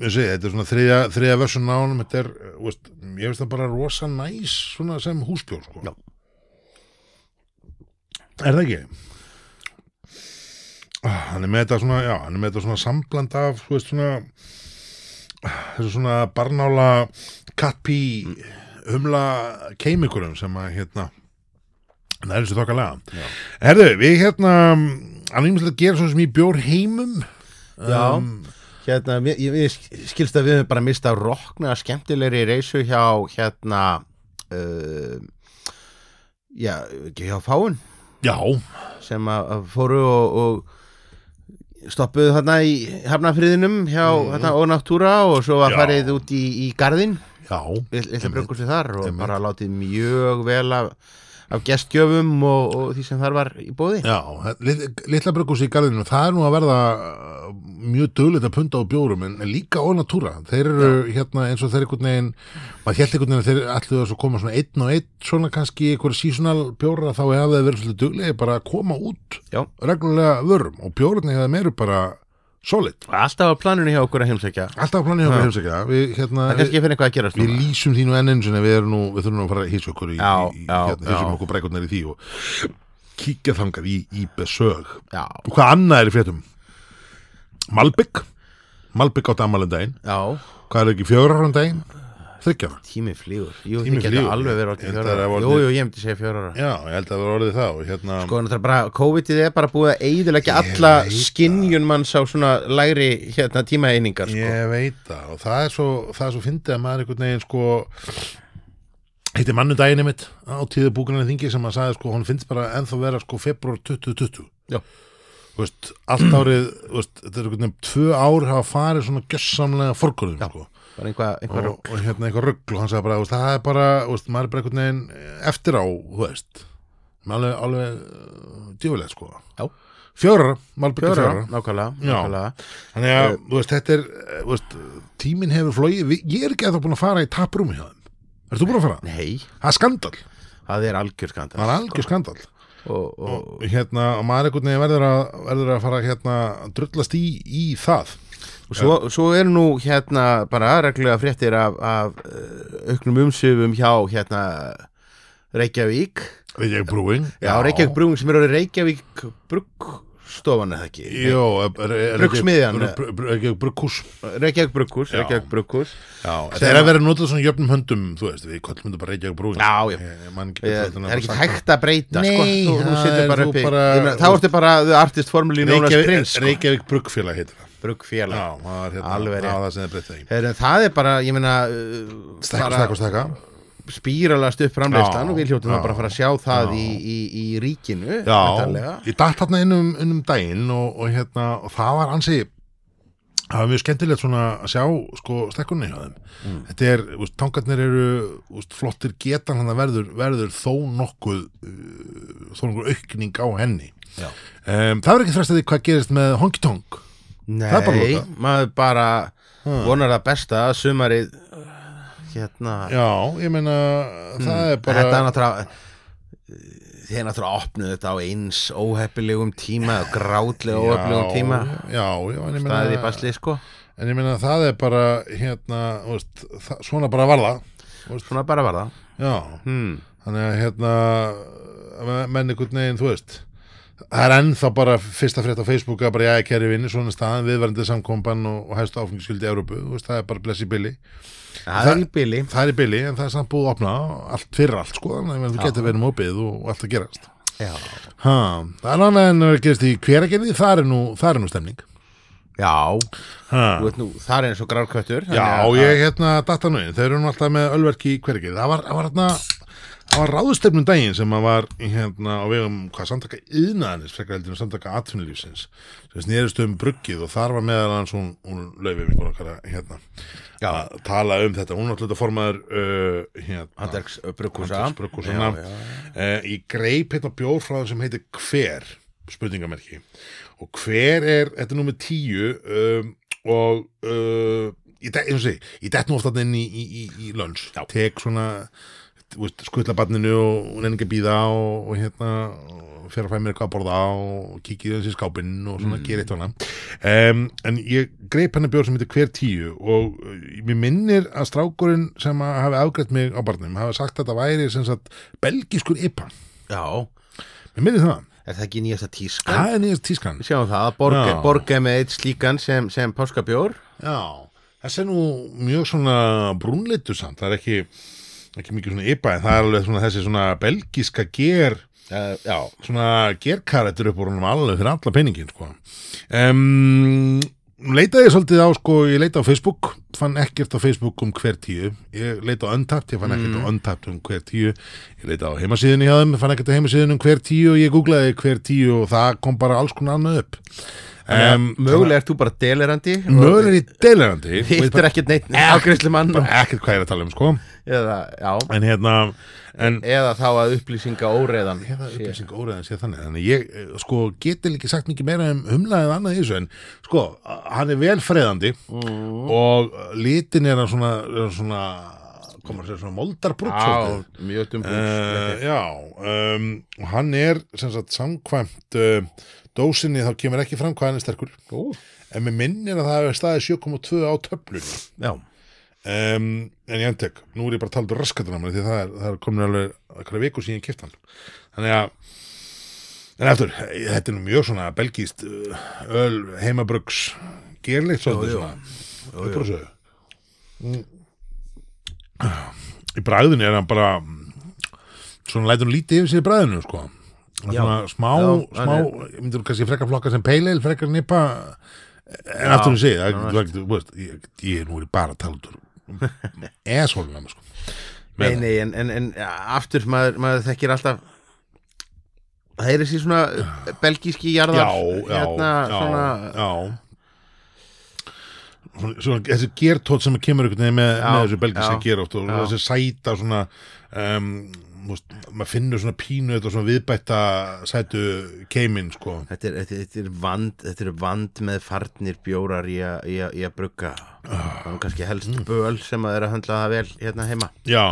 [SPEAKER 1] ég segi, þetta er svona þriðja, þriðja versun á honum, þetta er, uh, þú veist, ég veist það bara rosa næs, svona sem húsbjór, sko.
[SPEAKER 2] Já.
[SPEAKER 1] Er það ekki? Ah, Hann er með þetta svona, já, hann er með þetta svona sambland af, þú veist, svona, þessu svona barnála kappi humla keimikurum sem að, hérna, það er þessu þokkalega. Herðu, við hérna, hann er ímjöld að gera svona sem í bjór heimum,
[SPEAKER 2] Já. Hérna, mér- ég, ég skilst að við höfum bara mistað rokna skemmtilegri reysu hjá hérna uh, já, ekki hjá fáun
[SPEAKER 1] Já,
[SPEAKER 2] sem að, að fóru og, og stoppuðu þarna í hafnafriðinum hjá hérna, og náttúra og
[SPEAKER 1] Mhm.
[SPEAKER 2] svo
[SPEAKER 1] Já.
[SPEAKER 2] að farið út í, í garðin
[SPEAKER 1] já,
[SPEAKER 2] litla brökkursi þar og bara látið mjög vel af, af gestgjöfum og, og því sem þar var í bóði
[SPEAKER 1] já, lit- litla brugghús í garðinu, það er nú að verða uh, mjög dögulegt að punta á bjórum en en líka á natúra, þeir eru hérna eins og þeir einhvern veginn, maður held einhvern veginn að þeir allir að svo koma svona einn og einn svona kannski einhver sísonal bjóra þá hefði þeir verið svolítið dögulegi bara að koma út
[SPEAKER 2] Já.
[SPEAKER 1] reglulega vörum og bjórarni hefði meiru bara solid,
[SPEAKER 2] alltaf á planinu hjá okkur að heimsækja
[SPEAKER 1] alltaf planið hjá hefum segja við hérna,
[SPEAKER 2] það er kannski fyrir eitthvað að gerast
[SPEAKER 1] Við
[SPEAKER 2] núna.
[SPEAKER 1] lýsum því nú enn eins og við, erum nú, við þurfum nú að fara að hýsa okkur í,
[SPEAKER 2] Já,
[SPEAKER 1] í, í
[SPEAKER 2] já,
[SPEAKER 1] hérna, hýsum
[SPEAKER 2] já.
[SPEAKER 1] okkur brækurnar í því og kíkja þangað í, í besög
[SPEAKER 2] já,
[SPEAKER 1] og hvað annað er í fréttum Malbygg Malbygg átt amalendaginn
[SPEAKER 2] já,
[SPEAKER 1] hvað er ekki um fjórarandaginn þryggjaða
[SPEAKER 2] tími flýgur jú,
[SPEAKER 1] Tíminn
[SPEAKER 2] þið geta
[SPEAKER 1] flýgur.
[SPEAKER 2] alveg verið
[SPEAKER 1] Ég held að
[SPEAKER 2] orðið
[SPEAKER 1] það
[SPEAKER 2] fjóra ára
[SPEAKER 1] hafi
[SPEAKER 2] jú,
[SPEAKER 1] orðið-
[SPEAKER 2] jú, ég myndi segja fjóra ára
[SPEAKER 1] Já, ég held að það var orðið það og hérna,
[SPEAKER 2] sko, en það er bara, COVID-ið er bara búið að eidilegja alla
[SPEAKER 1] veit það.
[SPEAKER 2] skinjun manns á svona lægri hérna tímaeiningar sko.
[SPEAKER 1] ég veit það og það er svo, það er svo fyndið að maður einhvern veginn sko heitir mannudaginn einmitt á tíðu búkunan þingi sem að sagði sko, hún finnst bara ennþá vera sko februar 2020
[SPEAKER 2] já,
[SPEAKER 1] Þú veist, allt árið, þú veist, þetta er einhvern veginn tvö ár hafa farið svona gjössamlega forgurðum, sko
[SPEAKER 2] bara einhvað, einhvað
[SPEAKER 1] og, og hérna eitthvað rugg og hann sagði bara, þú veist, það er bara, þú veist, maður er bara einhvern veginn eftir á, þú veist alveg, alveg djúvilegt sko
[SPEAKER 2] Já.
[SPEAKER 1] fjóra, malbyggur
[SPEAKER 2] Fjóra,
[SPEAKER 1] fjóra
[SPEAKER 2] nákvæmlega,
[SPEAKER 1] Já.
[SPEAKER 2] nákvæmlega.
[SPEAKER 1] þannig að, þú veist, þetta er eh, þú veist, tíminn hefur flóið, Við- ég er ekki að það búin að fara í taprúmi hjá þeim Ertu búin að fara?
[SPEAKER 2] Nei,
[SPEAKER 1] Það er skandal,
[SPEAKER 2] það er algjör skandal
[SPEAKER 1] það er algjör skandal
[SPEAKER 2] sko. og, og,
[SPEAKER 1] og hérna, og maður einhvern veginn verður að, verður að fara hérna, að drullast í, í það
[SPEAKER 2] og svo, svo er nú hérna bara reglulega fréttir af, af eh, auknum umsöfum hjá hérna Reykjavík
[SPEAKER 1] Reykjavík Brewing
[SPEAKER 2] Já, Reykjavík Brúing sem er orðið Reykjavík Bruggstofan eða ekki
[SPEAKER 1] Jó, eh, er- er- er-
[SPEAKER 2] Bruggsmiðjan,
[SPEAKER 1] Brugg- Brugg- Brugg- Reykjavík Brugghús
[SPEAKER 2] Reykjavík Brugghús,
[SPEAKER 1] Já.
[SPEAKER 2] Reykjavík Brugghús
[SPEAKER 1] Já, það er að vera notað svona jöfnum höndum þú veist, við kollum þetta bara Reykjavík Brewing
[SPEAKER 2] Já, já.
[SPEAKER 1] Ég- ég man ekki
[SPEAKER 2] Eh,
[SPEAKER 1] betur heldur en
[SPEAKER 2] Það
[SPEAKER 1] að
[SPEAKER 2] er ekki
[SPEAKER 1] sagt
[SPEAKER 2] hægt að breyta sko.
[SPEAKER 1] Nei,
[SPEAKER 2] þú, þú
[SPEAKER 1] það
[SPEAKER 2] situr
[SPEAKER 1] er
[SPEAKER 2] bara
[SPEAKER 1] þú
[SPEAKER 2] uppi
[SPEAKER 1] bara-
[SPEAKER 2] Ég meina, Þá ertu bara the artist formúli Nónas
[SPEAKER 1] Reykjavík,
[SPEAKER 2] Prins sko.
[SPEAKER 1] Reykjavík Bruggfélag heitir það
[SPEAKER 2] Bruggfélag
[SPEAKER 1] Já, það er hérna,
[SPEAKER 2] Alveg
[SPEAKER 1] það
[SPEAKER 2] rétt.
[SPEAKER 1] var það sem þið breytta í
[SPEAKER 2] Heyrðu, Það er bara, ég meina uh,
[SPEAKER 1] Stekka,
[SPEAKER 2] bara-
[SPEAKER 1] stekka, stekka
[SPEAKER 2] spíralast upp framleyslan
[SPEAKER 1] Já,
[SPEAKER 2] og við hljóttum
[SPEAKER 1] já,
[SPEAKER 2] að bara að fara að sjá það í, í, í ríkinu væntanlega.
[SPEAKER 1] Já, ég datt hérna inn um, inn um daginn og, og hérna, og það var ansi það var mjög skemmtilegt svona að sjá sko stekkunni hjá þeim þetta er, úst, tangarnir eru úst, flottir getan hann að verður, verður þó nokkuð uh, þó nokkuð aukning á henni
[SPEAKER 2] Já.
[SPEAKER 1] um, Það var ekki þræst að því hvað gerist með Honky Tonk
[SPEAKER 2] Nei,
[SPEAKER 1] Það er bara Hm. lokað.
[SPEAKER 2] maður bara vonar það besta að sumarið uh, hérna
[SPEAKER 1] Já, ég meina það er bara
[SPEAKER 2] þetta er náttúrulega uh, þeir náttúrulega opnuðu þetta á eins óheppilegum tíma og grátlega óheppilegum tíma
[SPEAKER 1] Já, já, en ég meina
[SPEAKER 2] það er í basli sko
[SPEAKER 1] En ég meina það er bara hérna, þú veist, það, svona bara varða
[SPEAKER 2] svona bara var það
[SPEAKER 1] Já,
[SPEAKER 2] hmm.
[SPEAKER 1] þannig að hérna að menn einhvern veginn, þú veist það er ennþá bara fyrsta frétt á Facebook að bara jæja kæri vinni, svona staðan viðverandi samkomban og, og hæstu áfengiskuldi í Európu, þú veist, það er bara blessi billi
[SPEAKER 2] það er í bili
[SPEAKER 1] það er í billi en það er samt búið að opna allt fyrir allt, sko, þannig að þú getur verið með opið og, og allt að gerast
[SPEAKER 2] já,
[SPEAKER 1] ha, það er annað en að gerast í hveragerði það er nú, það er nú stemning
[SPEAKER 2] já.
[SPEAKER 1] ha.
[SPEAKER 2] þú veit nú, það er eins og grárkvættur
[SPEAKER 1] Já, ég hérna datta nú inn, þeir eru nú alltaf með ölverki í hvergið, það var, það var hérna það var ráðustefnum daginn sem að var í, hérna á vegum hvað samtaka yðnaðanis, frekar heldur en samtaka atvinnulífsins sem snerist um bruggið og þar var meðal hans hún, hún laufið vingur okkar að, hérna
[SPEAKER 2] Já.
[SPEAKER 1] að tala um þetta, hún var alltaf formaður uh, hérna
[SPEAKER 2] Handarks Bruggúsa
[SPEAKER 1] Andrés Bruggúsana uh, ég greip hérna bjór frá það sem heitir hver spurningamerki og hver er, þetta er númer tíu um, og uh, ég, de, ég, sé, ég dett nú ofta inn í, í, í, í lönns, tek svona þú veist, skutla barninu og hún er ekki að býða og, og hérna og fer að fæ mér eitthvað að borða og kikið þessi skápinn og svona mm. gera eitt og hana um, en ég greip henni bjór sem heitir hver tíu og uh, mér minnir að strákurinn sem að hafi afgreitt mig á barnum hafi sagt að þetta væri sem sagt belgiskur ypa,
[SPEAKER 2] Já,
[SPEAKER 1] mér minnir það
[SPEAKER 2] er það ekki nýjasta tíska?
[SPEAKER 1] það er nýjast tískan
[SPEAKER 2] Við sjáum það, að borga,
[SPEAKER 1] Já.
[SPEAKER 2] borga er með eitt slíkan sem, sem páskabjór
[SPEAKER 1] Já, þessi er nú mjög svona brúnleitu samt, það er ekki ekki mikið svona ypa en það er alveg svona þessi svona belgiska ger
[SPEAKER 2] uh, Já,
[SPEAKER 1] svona gerkarættur upp úr honum alveg fyrir alla peningin sko. um, leitaði ég svolítið á sko, ég leitaði á Facebook fann ekkert á Facebook um hver tíu ég leitaði á Untapped, ég fann ekkert á Untapped um hver tíu ég leitaði á heimasíðinu hjá þeim fann ekkert á heimasíðinu um hver tíu og ég googlaði hver tíu og það kom bara alls konar annað upp um,
[SPEAKER 2] mögulega ert þú bara delerandi
[SPEAKER 1] mögulega er ég Eh. deilirandi
[SPEAKER 2] Hittir ekkert neitt afgriðslu mann
[SPEAKER 1] ekkert hvað ég er að tala um sko.
[SPEAKER 2] eða, já,
[SPEAKER 1] en hérna en,
[SPEAKER 2] eða þá að upplýsinga óreiðan
[SPEAKER 1] eða upplýsing óræðan sé þannig þannig ég eh, sko geti ekki sagt mikið meira um humlaðið annað í þessu en sko a- hann er vel freðandi og eh, litin er hann svona, er hann svona komur að segja svona moldarbrúk
[SPEAKER 2] Já, mjög dumbúks
[SPEAKER 1] Uh, já, um, og hann er sem sagt samkvæmt uh, dósinni þá kemur ekki fram hvað hann er sterkur
[SPEAKER 2] Ó.
[SPEAKER 1] en mér minnir að það hefur staðið 7,2 á töflunni
[SPEAKER 2] Já,
[SPEAKER 1] um, en ég endek, nú er ég bara að tala um raskatunum því það er, það er komin alveg eitthvað viku síðan ég kipta hann þannig að en eftir, þetta er nú mjög svona belgíst uh, öl heimabrugs gerleikt svolítið svona upprössu mm. í bræðinu er hann bara mm, svona lætur hann lítið yfir sér í bræðinu sko Hann
[SPEAKER 2] Já.
[SPEAKER 1] svona smá,
[SPEAKER 2] Já, hann
[SPEAKER 1] smá ég myndir kannski frekar flokka sem peileil frekar nipa en aftur hún segið, það er ekki, þú veist, ég, ég nú er ég bara að tala út úr eshólunum, sko.
[SPEAKER 2] nei, nei, en, en, en aftur maður, maður þekkir alltaf Það er þessi svona belgíski
[SPEAKER 1] Já,
[SPEAKER 2] jarðar
[SPEAKER 1] já,
[SPEAKER 2] hérna,
[SPEAKER 1] já,
[SPEAKER 2] svona,
[SPEAKER 1] já. Svona, svona, þessi gertótt sem kemur einhvern veginn með, með þessu belgis
[SPEAKER 2] já,
[SPEAKER 1] sem gerótt og
[SPEAKER 2] já.
[SPEAKER 1] þessi sæta svona um, þú veist, maður finnur svona pínu þetta svona viðbætta sætu keimin sko
[SPEAKER 2] Þetta er, þetta, þetta, er vand, þetta er vand með farnir bjórar í að- í að í að brugga Það er kannski helst böl sem að er að höndla það vel hérna heima
[SPEAKER 1] Já,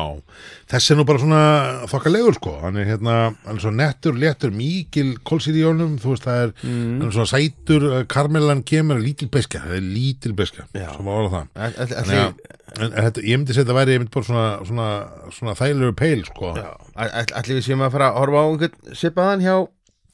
[SPEAKER 1] þessi er nú bara svona þokkalegur sko, hann er hérna hann er svo nettur, léttur, mikil kólsýri í honum, þú veist það er,
[SPEAKER 2] Mhm.
[SPEAKER 1] hann er svona sætur, eh, karmelan kemur lítil beska, það er lítil beska,
[SPEAKER 2] Já.
[SPEAKER 1] svo má orða það
[SPEAKER 2] Æ- æ-
[SPEAKER 1] Þannig
[SPEAKER 2] ætli-
[SPEAKER 1] að, en, en þetta, ég myndi segja þetta væri ég myndi bara svona, svona, svona þægilegu peil sko,
[SPEAKER 2] Já, æ- æ- Ætli við séum að fara að horfa á einhvern sipaðan hjá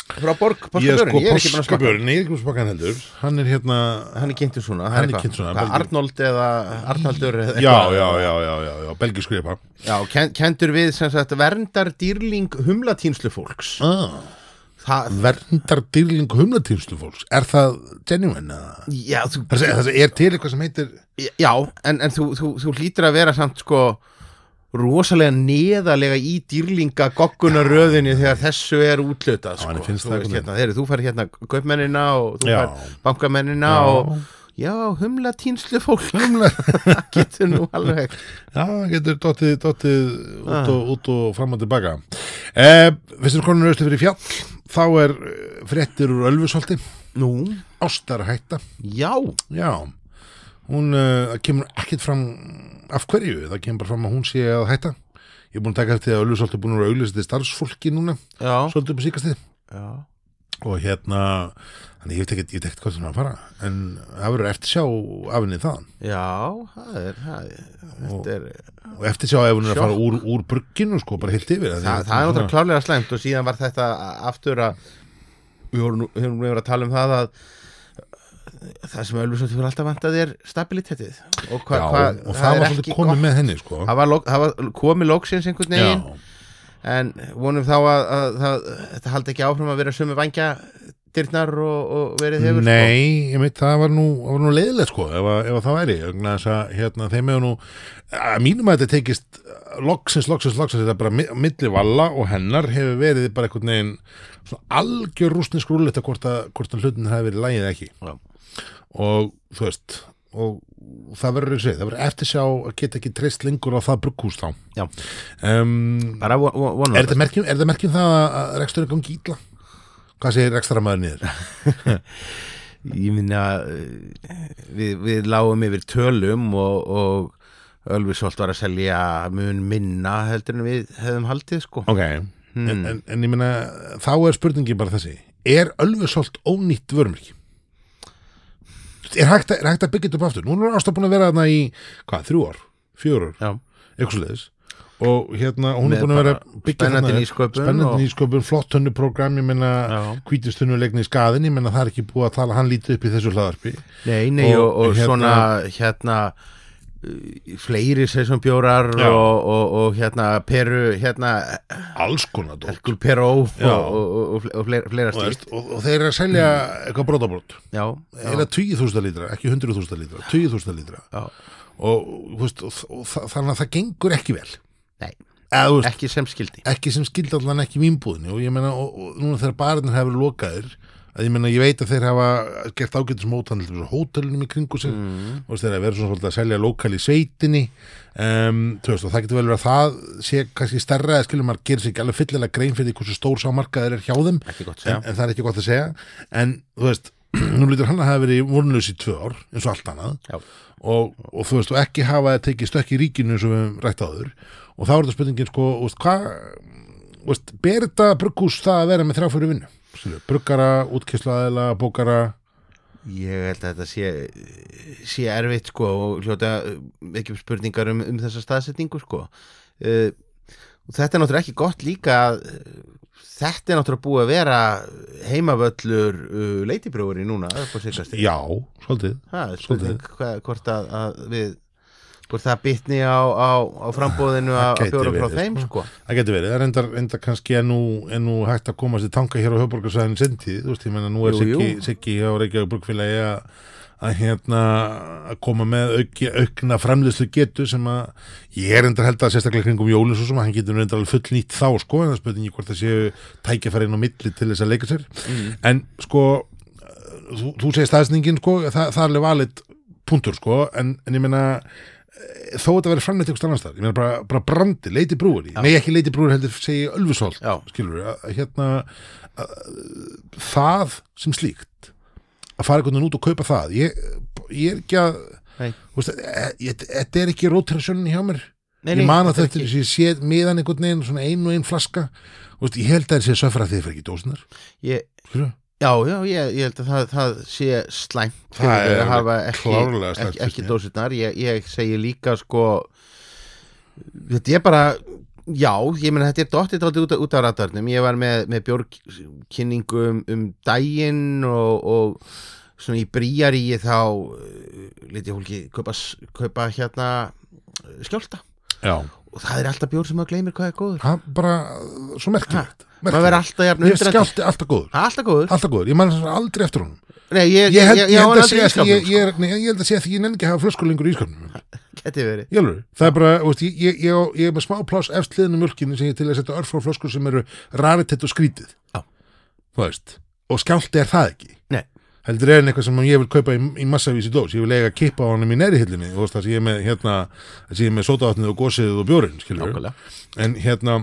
[SPEAKER 2] frá Borg,
[SPEAKER 1] ég er
[SPEAKER 2] Páskabjörn,
[SPEAKER 1] sko
[SPEAKER 2] ég er ekki búin að smaka
[SPEAKER 1] poskabjörn, ég er ekki búin að smaka hann heldur hann er hérna,
[SPEAKER 2] Hann er kynntur svona,
[SPEAKER 1] Hann er
[SPEAKER 2] eitthvað-
[SPEAKER 1] kynntur svona,
[SPEAKER 2] hvað,
[SPEAKER 1] Belgi-
[SPEAKER 2] Arnold eða Arnaldur eða
[SPEAKER 1] já,
[SPEAKER 2] eitthvað.
[SPEAKER 1] já, já, já, já, já belgisku ypa,
[SPEAKER 2] Já, ken- kendur við sem sagt verndar dýrling humlatýnslu fólks
[SPEAKER 1] ah,
[SPEAKER 2] Það,
[SPEAKER 1] verndar dýrling humlatýmslu fólks, er það genuine eða?
[SPEAKER 2] já, þú,
[SPEAKER 1] Það er, það er til eitthvað sem heitir
[SPEAKER 2] já en, en þú, þú, þú hlýtur að vera samt sko rosalega neðalega í dýrlinga goggunaröðinni þegar þessu er útlötað sko.
[SPEAKER 1] henni finnst
[SPEAKER 2] þú,
[SPEAKER 1] það
[SPEAKER 2] veist,
[SPEAKER 1] einhvern
[SPEAKER 2] hérna, þeir, þú fær hérna kaupmennina og þú
[SPEAKER 1] Já.
[SPEAKER 2] fær bankamennina
[SPEAKER 1] Já.
[SPEAKER 2] og já, humlatýnslu fólk getur nú alveg
[SPEAKER 1] Já, það getur dottið, dottið
[SPEAKER 2] Ah.
[SPEAKER 1] út, og, út og fram og tilbaka eh, Vistur konur austur fyrir fjall þá er eh, fréttir úr Ölfusholti
[SPEAKER 2] Nú,
[SPEAKER 1] Ástar hætta
[SPEAKER 2] já,
[SPEAKER 1] Já, hún eh, það kemur ekkert fram af hverju það kemur bara fram að hún sé að hætta Ég er búin að taka eftir að Ölfusholti er búin að auðlýsa til starfsfólki núna
[SPEAKER 2] já,
[SPEAKER 1] svolítið upp í síkastið
[SPEAKER 2] já.
[SPEAKER 1] og hérna, þannig ég veit ekkert ég veit ekkert hvað sem er að fara en það verður eftir sjá af henni þaðan
[SPEAKER 2] Já, það er, það er, þetta er
[SPEAKER 1] og eftir sjá ef hún er að fara úr, úr brugginu sko, bara heilt yfir
[SPEAKER 2] það, það er náttúrulega klárlega slæmt og síðan var þetta aftur að við vorum nú- við vorum nú verið að tala um það að eh, það sem Ölfusótt fyrir alltaf vantað er stabilitetið og, hva,
[SPEAKER 1] Já,
[SPEAKER 2] hva,
[SPEAKER 1] og það var
[SPEAKER 2] er
[SPEAKER 1] svolítið
[SPEAKER 2] ekki
[SPEAKER 1] komið
[SPEAKER 2] gott.
[SPEAKER 1] með henni sko.
[SPEAKER 2] það var, lok- það var komið lóksins einhvern
[SPEAKER 1] Já,
[SPEAKER 2] veginn en vonum þá að, að, að þetta haldi ekki áfram að vera sömu vangja dyrnar og, og verið hefur sko.
[SPEAKER 1] nei, ég veit það var nú, það var nú leiðilegt sko, ef, að- ef að það væri vegna þess að, hérna, þeim hefur nú að mínum að þetta tekist eh, loksins, loksins, loksins, þetta bara mi- milli valla og hennar hefur verið bara einhvern veginn svona algjör rúsnisk rúletta hvort að, hvort að hlutin hefur verið lægið ekki
[SPEAKER 2] Já.
[SPEAKER 1] og þú veist og það verður eins og við, það verður eftir sjá að geta ekki treyst lengur á það brugghús þá
[SPEAKER 2] Já,
[SPEAKER 1] um,
[SPEAKER 2] bara von- von- vonum
[SPEAKER 1] Er þetta merkjum, er þetta merkjum það að- að reksturinn gangi ítla? Hvað segir rekstaramæður niður?
[SPEAKER 2] Ég minna eh, við, við lágum yfir tölum og, og Ölfisholt var að selja mun minna heldur en við hefðum haldið sko
[SPEAKER 1] Ok en, en, en ég meina, þá er spurningin bara þessi Er ölfusolt ónýtt vörumriki? Er hægt, að, er hægt að byggja þetta upp aftur? Nú er ástaf búin að vera þarna í, hvað, þrjú ár? Fjör ár?
[SPEAKER 2] Já,
[SPEAKER 1] eitthvað sliðis og hérna, hún
[SPEAKER 2] Með
[SPEAKER 1] er búin að vera
[SPEAKER 2] bara spennandi
[SPEAKER 1] þarna-
[SPEAKER 2] nýsköpun
[SPEAKER 1] spennandi
[SPEAKER 2] og-
[SPEAKER 1] nýsköpun, flott hönnuprogram ég menna
[SPEAKER 2] Já.
[SPEAKER 1] hvítistunnulegni í skaðin ég menna það er ekki búið að tala hann lítið upp í þessu hlaðarpi
[SPEAKER 2] nei, nei og,
[SPEAKER 1] Og
[SPEAKER 2] og,
[SPEAKER 1] hérna-
[SPEAKER 2] svona hérna eh, fleiri sesonbjórar og,
[SPEAKER 1] Já.
[SPEAKER 2] og, og hérna peru, hérna
[SPEAKER 1] alls konar dót
[SPEAKER 2] Herkul Peró og,
[SPEAKER 1] Já.
[SPEAKER 2] og, og, og fleira, fleira
[SPEAKER 1] og,
[SPEAKER 2] slíkt
[SPEAKER 1] veist, og, og þeir eru að selja eitthvað brotabrót
[SPEAKER 2] Já, já,
[SPEAKER 1] eða 20.000 lítra, ekki 100.000 lítra 20.000 lítra
[SPEAKER 2] já,
[SPEAKER 1] og, þú veist, og, þ- og þa- þannig að það gengur ekki vel
[SPEAKER 2] nei,
[SPEAKER 1] eða, þú veist,
[SPEAKER 2] ekki sem skildi
[SPEAKER 1] ekki sem skildi allan ekki mínbúðinni og ég meina, og, og núna þegar barnir hafa verið lokaðir að ég meina, ég veit að þeir hafa gert ágætis mótanl til hótelunum í kringu sig og þú veist, þeir hafa verið svona svolítið að selja lokal í sveitinni um, þú veist, og það getur vel verið að það sé kannski stærra eða skilur maður gerir sér ekki alveg fyllilega grein fyrir því hversu stór sámarkaður er hjá þeim
[SPEAKER 2] Ekki gott
[SPEAKER 1] en,
[SPEAKER 2] segja
[SPEAKER 1] en það er ekki gott að segja en þú veist, nú lítur hann að hafa verið vonlaus í tvö ár, eins og allt annað
[SPEAKER 2] Já.
[SPEAKER 1] og, og þú veist, og ekki hafa tekið stökk í ríkinu eins og við höfum rætt áður og þá er þetta spurningin sko, þú veist, hvað þú veist, ber þetta brugghús það að vera með þrjá fyrir vinnu? Skilju, Bruggara, útkislaðila, bókara
[SPEAKER 2] Ég held að þetta sé, sé erfitt sko og hljóta eh, ekki upp spurningar um, um þessa staðsetningu sko. Uh, og þetta er náttúrulega ekki gott líka að eh, þetta er náttúrulega búið að vera heimavöllur uh, leitibrjóri núna upp á sérkastir.
[SPEAKER 1] Já, svolítið
[SPEAKER 2] Það er spurning hvað, hvort að, að við hvort það bitni á, á, á frambóðinu
[SPEAKER 1] það
[SPEAKER 2] að
[SPEAKER 1] gæti
[SPEAKER 2] bjóra frá
[SPEAKER 1] verið,
[SPEAKER 2] þeim sko.
[SPEAKER 1] Það getur verið, það er endar, endar kannski en nú, en nú hægt að komast í tanga hér á höfborgarsæðin sendið, þú veist, ég menna nú er
[SPEAKER 2] Jú,
[SPEAKER 1] Siggi,
[SPEAKER 2] jú.
[SPEAKER 1] Siggi hjá Reykjavík Brugfélagi að, að hérna að koma með auki, aukna framlýslu getu sem að ég er endar held að sérstaklega kringum jólun svo sem að hann getur endar alveg full nýtt þá sko en það spurningi hvort það séu tækjafæri inn á milli til þess að leika sér
[SPEAKER 2] Mm.
[SPEAKER 1] en sko, þú, þú segir staðsningin sko, það, það er alveg valið punktur sko, en, en ég meina eh, þó þetta verið framleitt eitthvað annars þar, ég meina bara, bara brandi, leiti brúari, nei ekki leiti brúari heldur segi ölfusholt,
[SPEAKER 2] Já.
[SPEAKER 1] skilur við, að hérna að, það sem slíkt að fara einhvern veginn út og kaupa það ég, ég er ekki að
[SPEAKER 2] Nei.
[SPEAKER 1] þú veist, eh, ég- þetta er ekki rótrasjónin hjá mér
[SPEAKER 2] Nei,
[SPEAKER 1] ég
[SPEAKER 2] nei,
[SPEAKER 1] man að
[SPEAKER 2] þetta er
[SPEAKER 1] þetta er þessi séð miðan einhvern veginn svona ein og ein flaska Þú veist, ég held að það sé söfra þegar fyrir ekki dósinar
[SPEAKER 2] ég,
[SPEAKER 1] skilur við
[SPEAKER 2] Já, já, ég, ég held að það, það sé slæmt fyrir
[SPEAKER 1] Það
[SPEAKER 2] þau
[SPEAKER 1] er
[SPEAKER 2] að hafa ekki,
[SPEAKER 1] klárlega slæmt
[SPEAKER 2] ekki,
[SPEAKER 1] fyrir
[SPEAKER 2] ekki
[SPEAKER 1] þau.
[SPEAKER 2] dósirnar ég, ég segi líka sko þetta er bara já, ég meina þetta er dottið dálítið út, af- út af ratarnum, ég var með, með bjórkynningu um, um daginn og, og svona í bríjar í þá uh, lítið hólki kaupa, s- kaupa hérna uh, skjálta
[SPEAKER 1] Já,
[SPEAKER 2] og það er alltaf bjór sem maður gleymir hvað er góður
[SPEAKER 1] það bara uh, svo merkilegt,
[SPEAKER 2] maður verður
[SPEAKER 1] merkilegt.
[SPEAKER 2] alltaf jafn
[SPEAKER 1] Ég
[SPEAKER 2] undrandi.
[SPEAKER 1] skjálti alltaf góður
[SPEAKER 2] Það er alltaf góður
[SPEAKER 1] alltaf góður, ég man aldrei eftir honum
[SPEAKER 2] Nei, ég,
[SPEAKER 1] ég held, ég, held
[SPEAKER 2] á hann
[SPEAKER 1] að
[SPEAKER 2] aldrei í sko.
[SPEAKER 1] segja að
[SPEAKER 2] ísskápnum,
[SPEAKER 1] ég, ég, er- nei, ég held að segja að ég nenni ekki að hafa flösku lengur í ískapnum
[SPEAKER 2] sko. Gæti verið
[SPEAKER 1] Jálfur, það er bara, þú veist, ég, ég, ég, á- ég er með smá pláss efst hliðinu mjölkinu sem ég er til að setja örfá flöskur sem eru raritet og skrítið
[SPEAKER 2] Já.
[SPEAKER 1] Þú veist, og skjálti er það ekki
[SPEAKER 2] Nei.
[SPEAKER 1] Heldur er en eitthvað sem ég vil kaupa í, í massavís í dós, ég vil eiga að kippa á honum í næri hillinni, þú veist, það sem ég er með hérna, það sem ég er með sótavatnið og gósið og bjórinn, skilur en hérna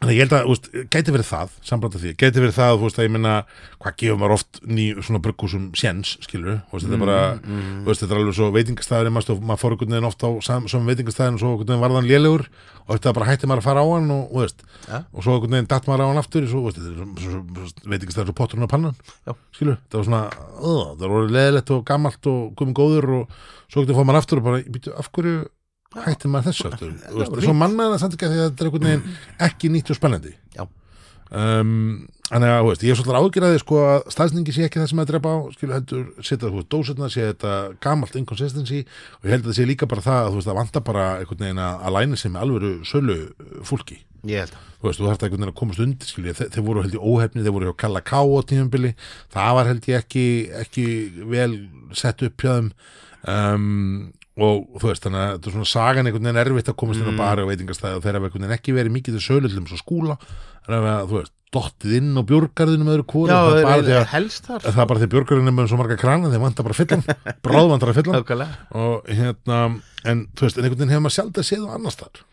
[SPEAKER 1] en ég held að, þú veist, gæti verið það samband að því, gæti verið það, þú veist, að ég minna hvað gefur maður oft ný, svona brugghúsum séns, skilur, þú veist, þetta er bara þú veist, þetta er alveg svo veitingastæður maður, stó- maður fór einhvern veginn oft á sam, svo veitingastæðin og svo einhvern veginn varðan lélegur og þetta bara hætti maður að fara á hann og, þú veist,
[SPEAKER 2] Ja.
[SPEAKER 1] og svo einhvern veginn datt maður á hann aftur svo, þú veist, þetta er svo- svo- svo- svo- veitingastæður og potturinn á pannan,
[SPEAKER 2] Já.
[SPEAKER 1] skilur, þetta var svona uh, það var orðið leðilegt og gamalt og gumin góður og svo getur fór maður aftur og bara, býtu, af hverju hætti maður þessu aftur Þú veist,
[SPEAKER 2] var
[SPEAKER 1] svo mann maður það samt ekki að því að þetta er einhvern veginn ekki nýtt og spennandi
[SPEAKER 2] Já.
[SPEAKER 1] um, þannig að þú veist, ég er svolítið ágjörði sko að staðsningi sé ekki það sem að drepa á skilu heldur, setja þú veist, dósirna sé þetta gamalt inconsistency og ég held að það sé líka bara það að þú veist, það vantar bara einhvern veginn að að læna sig með alvöru sölu uh, fólki
[SPEAKER 2] Ég held að
[SPEAKER 1] þú veist, þú þarft einhvern veginn að komast undir skilja, þeir, þeir voru held ég óhefni, þeir voru hjá Kalla Ká á tímumbili, það var held ég ekki ekki vel sett upp hjá þeim um, og þú veist, þannig að þetta er svona sagan einhvern veginn erfitt að komast inn á bari og veitingastæði og þeir hafa einhvern veginn ekki verið mikið til sölu til þeim svo skúla, þeir hafa, þú veist, dottið inn á björgarðinu með öðru kóru
[SPEAKER 2] Já,
[SPEAKER 1] það er bara
[SPEAKER 2] er,
[SPEAKER 1] því
[SPEAKER 2] er
[SPEAKER 1] að
[SPEAKER 2] helst þar
[SPEAKER 1] það er bara því að björgarðinu með svo marga krana, þeir vantar bara fyllan bráðvantar að fyllan
[SPEAKER 2] Nákvæmlega
[SPEAKER 1] og hérna, en þú veist, en einhvern veginn hefur maður sjálf það séð á annars þar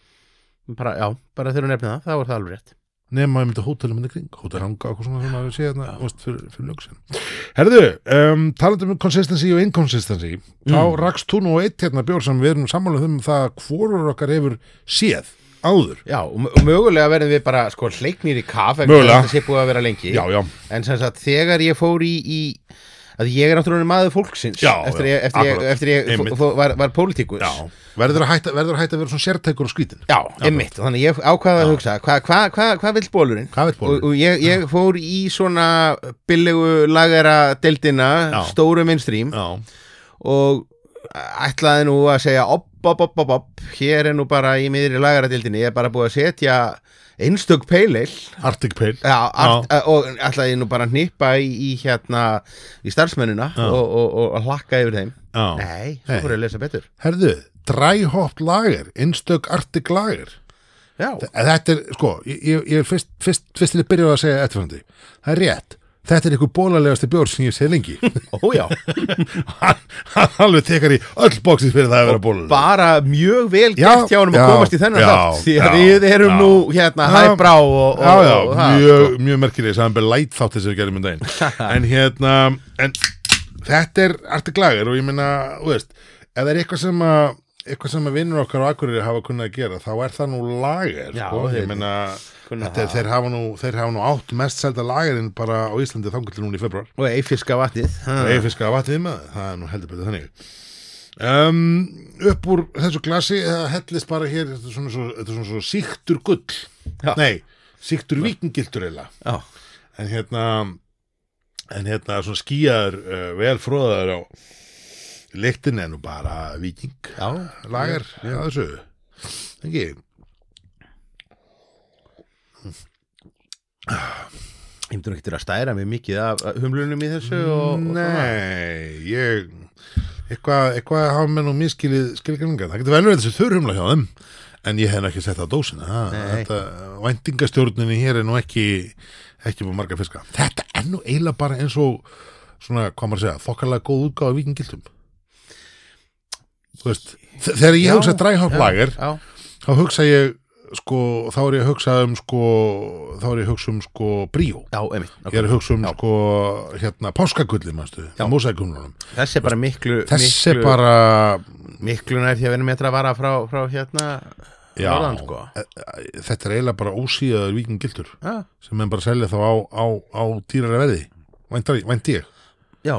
[SPEAKER 2] bara, Já, bara þegar þú nefnir það, þá er það alveg rétt
[SPEAKER 1] nema einmitt að hótelum minni kring hótelhanga og eitthvað svona sem maður sé hérna þú veist, fyrir, fyrir lögsin Herðu, um, talandi um consistency og inconsistency þá
[SPEAKER 2] Mm.
[SPEAKER 1] rakst þú nú eitt hérna bjór sem við erum sammálað um það að hvorur okkar hefur séð áður
[SPEAKER 2] Já, og og mögulega verðum við bara sko hleiknir í kaf vegna
[SPEAKER 1] Mögulega.
[SPEAKER 2] þess að Þetta sé búið að vera lengi
[SPEAKER 1] Já, já,
[SPEAKER 2] En sem sagt, þegar ég fór í, í að ég er náttúrulega maður fólksins
[SPEAKER 1] Já,
[SPEAKER 2] eftir
[SPEAKER 1] já,
[SPEAKER 2] ég, eftir ég,
[SPEAKER 1] akkurat.
[SPEAKER 2] eftir ég fó,
[SPEAKER 1] Einmitt.
[SPEAKER 2] fó, var, var pólitíkus
[SPEAKER 1] já Verður að hætta, verður að, hætta að vera svona sértækur á skrítin
[SPEAKER 2] Já, einmitt, og þannig ég ákvaða að hugsa hvað hva, hva, hva vill bólurinn?
[SPEAKER 1] Hvað veit
[SPEAKER 2] Og,
[SPEAKER 1] bólur?
[SPEAKER 2] og ég, ég fór í svona billegu lagera deildina,
[SPEAKER 1] Já.
[SPEAKER 2] stóru mainstream
[SPEAKER 1] Já,
[SPEAKER 2] og ætlaði nú að segja opp, opp, opp, opp, opp, hér er nú bara í miðri lagaradildinni, ég er bara búið að setja einstök peilil
[SPEAKER 1] Arctic Pale
[SPEAKER 2] ja, art, og ætlaði nú bara að hnippa í, í hérna í starfsmennina
[SPEAKER 1] Já.
[SPEAKER 2] og, og, og, og hlakka yfir þeim
[SPEAKER 1] Já.
[SPEAKER 2] Nei,
[SPEAKER 1] Nei.
[SPEAKER 2] svo fór ég að lesa betur
[SPEAKER 1] Herðu, dræhopp lager, einstök Arctic lager
[SPEAKER 2] Já,
[SPEAKER 1] Þetta er, sko, ég, ég- ég er fyrst, fyrst, fyrst til að byrja á að segja eftirfændi Það er rétt, þetta er einhver bólalegasti bjór sem ég sé lengi
[SPEAKER 2] ójá
[SPEAKER 1] hann, hann alveg tekar í öll bóksins fyrir það að vera bólur
[SPEAKER 2] bara mjög vel
[SPEAKER 1] Já,
[SPEAKER 2] gert hjá honum
[SPEAKER 1] já,
[SPEAKER 2] að komast í þennan
[SPEAKER 1] já,
[SPEAKER 2] þátt því að
[SPEAKER 1] já,
[SPEAKER 2] við erum
[SPEAKER 1] já.
[SPEAKER 2] nú hérna
[SPEAKER 1] Já.
[SPEAKER 2] hæbrá og, og,
[SPEAKER 1] já, já,
[SPEAKER 2] og það,
[SPEAKER 1] mjög,
[SPEAKER 2] sko.
[SPEAKER 1] mjög merkileg samanber light þáttir sem við gerum um daginn en hérna, en þetta er artig lagar og ég meina, þú veist ef það er eitthvað sem að eitthvað sem að vinnur okkar á Akureyri hafa kunnað að gera þá er það nú lager
[SPEAKER 2] Já,
[SPEAKER 1] sko.
[SPEAKER 2] þeir-
[SPEAKER 1] ég meina,
[SPEAKER 2] kunna
[SPEAKER 1] þetta, er-
[SPEAKER 2] það.
[SPEAKER 1] þeir, hafa nú, þeir hafa nú átt mest selda lagerinn bara á Íslandi þangur til núna í februar
[SPEAKER 2] og eifiska vatnið ha.
[SPEAKER 1] og eifiska vatnið maður, það er nú heldur betur þannig um, upp úr þessu glasi það hellist bara hér þetta er svona svo, þetta er svona svo síktur gull
[SPEAKER 2] Já.
[SPEAKER 1] nei, síktur vikingiltur eila
[SPEAKER 2] Já.
[SPEAKER 1] en hérna en hérna svona skýjar uh, vel fróðar á leiktin er nú bara viking
[SPEAKER 2] Já,
[SPEAKER 1] lagar að þessu ekki
[SPEAKER 2] Ég myndur ekki til að stæra mig mikið af af humlunum í þessu og, og svona.
[SPEAKER 1] Nei, ég eitthvað eitthva hafa með nú miskilið skilgrinningar, það getur vel verið þessi þurrumla hjá þeim en ég hef nú ekki sett það á dósina ha,
[SPEAKER 2] Nei.
[SPEAKER 1] þetta, væntingastjórninni hér er nú ekki ekki búið marga fiska þetta er nú eiginlega bara eins og svona, hvað maður að segja, þokkarlega góð útgáð af vikingiltum þú veist, þe- þegar ég
[SPEAKER 2] Já,
[SPEAKER 1] hugsa dræhátt lager
[SPEAKER 2] já,
[SPEAKER 1] þá hugsa ég sko, þá er ég að hugsa um sko, þá er ég að hugsa um sko bríó
[SPEAKER 2] já, einmitt
[SPEAKER 1] ég er
[SPEAKER 2] okay.
[SPEAKER 1] að hugsa um sko hérna páskagulli manstu, mósækumlunum
[SPEAKER 2] þessi er bara miklu
[SPEAKER 1] þessi
[SPEAKER 2] miklu,
[SPEAKER 1] bara
[SPEAKER 2] miklu nær því að vera metra að vara frá, frá hérna
[SPEAKER 1] já,
[SPEAKER 2] norðan, sko.
[SPEAKER 1] e- e- þetta er eiginlega bara ósíðaður vikingildur
[SPEAKER 2] já,
[SPEAKER 1] sem menn bara selja þá á, á, á dýrara verði væntar, vænti ég
[SPEAKER 2] já,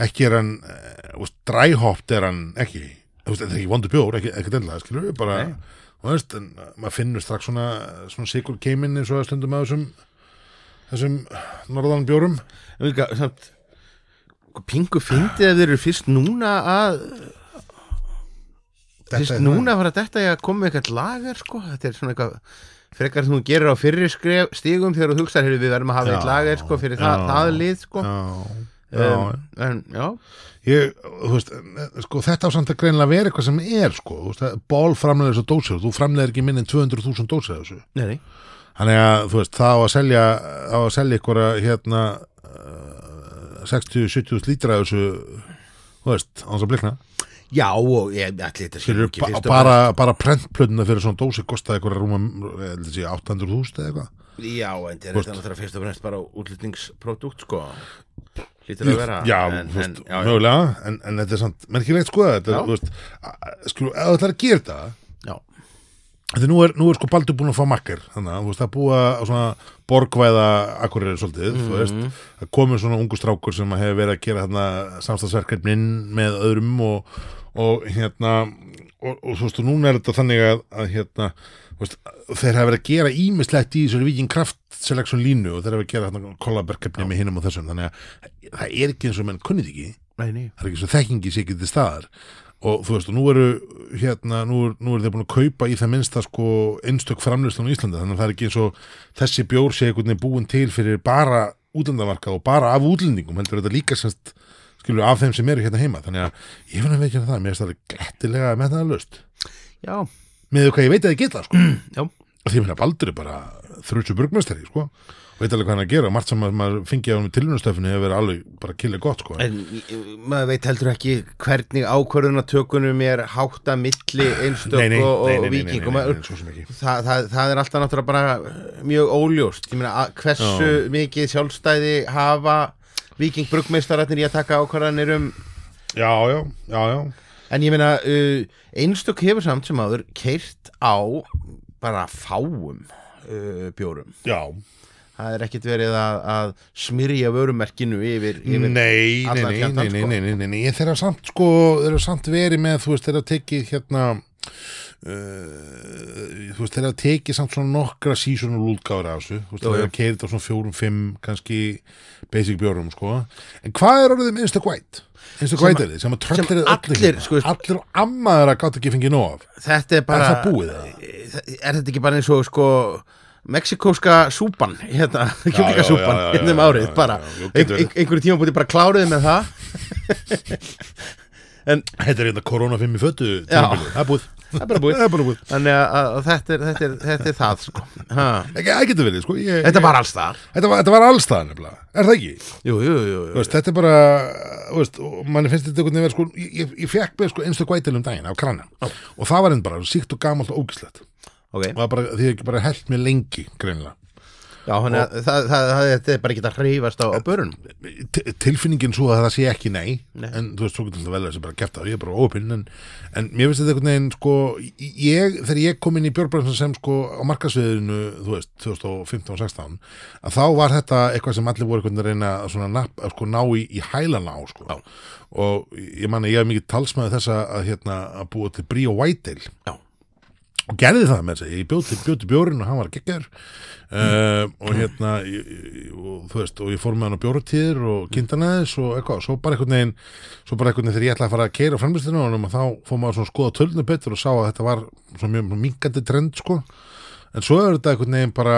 [SPEAKER 1] ekki er hann uh, dræhopt er hann ekki þú veist, þetta er ekki vondu bjór, ekki, ekki dendla skilur við bara
[SPEAKER 2] Nei.
[SPEAKER 1] þú veist, en, uh, maður finnur strax svona, svona sigur keiminn eins og að stundum að þessum þessum norðan bjórum
[SPEAKER 2] En líka, samt sko, pingu fyndið að þeir eru fyrst núna að fyrst
[SPEAKER 1] er-
[SPEAKER 2] núna að fara að detta ég að koma með eitthvað lager sko, þetta er svona eitthvað frekar sem þú gerir á fyrri skref stígum þegar þú hugsaðir, heyrðu, við verðum að hafa
[SPEAKER 1] Já,
[SPEAKER 2] eitt lager sko, fyrir það,
[SPEAKER 1] já,
[SPEAKER 2] það lið sko.
[SPEAKER 1] já, já,
[SPEAKER 2] um, en, já,
[SPEAKER 1] Ég, þú veist, en, sko, þetta á samt að greinlega vera eitthvað sem er, sko, þú veist, að ból framlega þessu dósir, þú framlega ekki minn en 200.000 dósir af þessu.
[SPEAKER 2] nei, nei
[SPEAKER 1] Þannig að, þú veist, það á að selja, á að selja ykkur að, hérna, eh, 60-70 lítra af þessu, þú veist, á þess að blikna.
[SPEAKER 2] já, og ég ætli þetta sé nú
[SPEAKER 1] Skilur,
[SPEAKER 2] ekki
[SPEAKER 1] ba
[SPEAKER 2] fyrst og
[SPEAKER 1] bara, bara prentplötuna fyrir svona dósi kostaði ykkur að rúma, eh, held ég sé, 800.000 eða eitthvað.
[SPEAKER 2] fremst- já, en þetta er þetta náttúrulega fyrst og fremst bara útlutningsprodúkt sko lítur að vera
[SPEAKER 1] já,
[SPEAKER 2] en,
[SPEAKER 1] en, veist,
[SPEAKER 2] en, já,
[SPEAKER 1] mögulega, en, en þetta er samt merkilegt sko, þetta
[SPEAKER 2] Já.
[SPEAKER 1] er, þú veist, að- skilur, ef þú ætlar að gera þetta,
[SPEAKER 2] já,
[SPEAKER 1] Þetta nú er, nú er sko Baldur búin að fá makkar þannig að þú veist að búa á svona borgvæða akkurir svolítið mm -hmm. það komur svona ungu strákur sem að hefur verið að gera þarna samstagsverkefnin með öðrum og, og hérna og, og þú veist og núna er þetta þannig að, að hérna þú veist, þeir hafa verið að gera ímislegt í þessari viking kraft selection línu og þeir hafa verið að gera þarna kollaberkefni með hinum og þessum þannig að það er ekki eins og menn kunnið ekki
[SPEAKER 2] nei, nei
[SPEAKER 1] það er ekki svo þekkingi sé ekki til staðar og þú veist, og nú eru hérna, nú, er, nú eru þeir búin að kaupa í það minnsta sko einstök framlýslan í Íslandi þannig að það er ekki eins og þessi bjór sé einhvern veginn búin til fyrir bara útlandamarkað og bara af útlendingum heldur þetta líka semst skilur af þeim sem eru hérna heima þannig að ég finn að veikja það, mér finnst það glættilega með það löst
[SPEAKER 2] já,
[SPEAKER 1] með hvað ég veit að þið geta sko
[SPEAKER 2] já,
[SPEAKER 1] og því minna Baldur er bara þrjótsu burgmestari sko og veit alveg hvað hann er að gera, margt sem að maður fengi á hann tilhjónastöfinu hefur verið alveg bara killa gott sko
[SPEAKER 2] En maður veit heldur ekki hvernig ákvörðunatökunum er hátta milli einstök
[SPEAKER 1] Nei, nei,
[SPEAKER 2] og,
[SPEAKER 1] nei,
[SPEAKER 2] og
[SPEAKER 1] nei, nei, nei,
[SPEAKER 2] viking og
[SPEAKER 1] nei,
[SPEAKER 2] maður-
[SPEAKER 1] nei, svo sem ekki.
[SPEAKER 2] það, það, það er alltaf náttúrulega bara mjög óljóst Ég meina, að- hversu mikið sjálfstæði hafa vikingbrugmeistararnir í að taka ákvarðanir um
[SPEAKER 1] já, já, já, já
[SPEAKER 2] en ég meina uh, einstök hefur samt sem áður keirt á bara fáum uh, bjórum
[SPEAKER 1] Já,
[SPEAKER 2] það er ekkert verið að, að smyrja vörumerkinu yfir,
[SPEAKER 1] Mm.
[SPEAKER 2] yfir
[SPEAKER 1] nei, nei,
[SPEAKER 2] allan
[SPEAKER 1] nei,
[SPEAKER 2] fjandann,
[SPEAKER 1] nei,
[SPEAKER 2] sko.
[SPEAKER 1] nei, nei, nei, nei, nei, ég þeirra samt sko, þeirra samt verið með, þú veist, þeirra tekið hérna, uh, þú veist, þeirra tekið samt svona nokkra sísonal útgáður af þessu, þú veist,
[SPEAKER 2] Jú,
[SPEAKER 1] þeirra
[SPEAKER 2] jú.
[SPEAKER 1] keirið á svona fjórum, fimm, kannski basic bjórum, sko, en hvað er orðið um með einstu gvæt? Einstu gvæt er þið, sem að tröllir
[SPEAKER 2] sem allir, sko,
[SPEAKER 1] hérna. allir og ammaður að gátt ekki fengið nóg af,
[SPEAKER 2] þetta er bara
[SPEAKER 1] er það búið það?
[SPEAKER 2] er þetta ekki bara eins og sko meksikóska súpan hérna,
[SPEAKER 1] já,
[SPEAKER 2] kjúklingasúpan
[SPEAKER 1] já, já,
[SPEAKER 2] hérna um
[SPEAKER 1] já,
[SPEAKER 2] árið
[SPEAKER 1] já, já,
[SPEAKER 2] bara,
[SPEAKER 1] já, jú,
[SPEAKER 2] ein,
[SPEAKER 1] getur
[SPEAKER 2] ein,
[SPEAKER 1] verið.
[SPEAKER 2] einhverju tíma búið bara kláruðið með það en
[SPEAKER 1] Þetta er hérna korona fimm í fötu,
[SPEAKER 2] Já.
[SPEAKER 1] tímabilið. það er búið,
[SPEAKER 2] það er bara búið
[SPEAKER 1] það er bara búið,
[SPEAKER 2] þannig að, að, að þetta, er, þetta, er, þetta er það sko. ha.
[SPEAKER 1] ekki, það getur verið, sko, ég,
[SPEAKER 2] þetta var alls þar
[SPEAKER 1] þetta var, þetta var allstaðan, nefnilega, er það ekki?
[SPEAKER 2] jú, jú, jú,
[SPEAKER 1] Þú
[SPEAKER 2] jú.
[SPEAKER 1] veist, þetta er bara, þú veist, og manni finnst þetta einhvern veginn verið, sko, ég, ég, ég fekk með sko einstu gvætil um daginn á kranna og það var einn bara síkt og gamalt og ógislegt og
[SPEAKER 2] Okay.
[SPEAKER 1] það bara, því ekki bara held mér lengi, greinlega.
[SPEAKER 2] Já, þannig að það, það, það, þetta er bara ekki að hreyfast á, á börun
[SPEAKER 1] T- Tilfinningin svo að það sé ekki nei,
[SPEAKER 2] Nei.
[SPEAKER 1] en þú veist, svo getur það vel að þessi bara gert það, ég er bara óopinn, en, en mér finnst þetta einhvern veginn, sko, ég, þegar ég kom inn í Björnbransan sem, sko, á markasviðinu, þú veist, 2015 og 16, að þá var þetta eitthvað sem allir voru einhvern veginn að reyna að svona nafn, að sko, ná í, í hælana á, sko. Já. og ég man að ég hef mikið talsmaði þess að, að, hérna, að búa til Brí og Whitedale
[SPEAKER 2] Já.
[SPEAKER 1] og gerði það með þess að ég bjóti, bjóti bjórin og hann var geggjör uh, og hérna ég, ég- og, þú veist, og ég fór með hann á bjóratíðir og kindanæðis og eitthvað, svo bara einhvern veginn svo bara einhvern veginn þegar ég ætlaði að fara að keira framlistinu og nema þá fór maður svona að skoða tölunum betur og sá að þetta var svona mjög minkandi trend sko En svo er þetta einhvern veginn bara,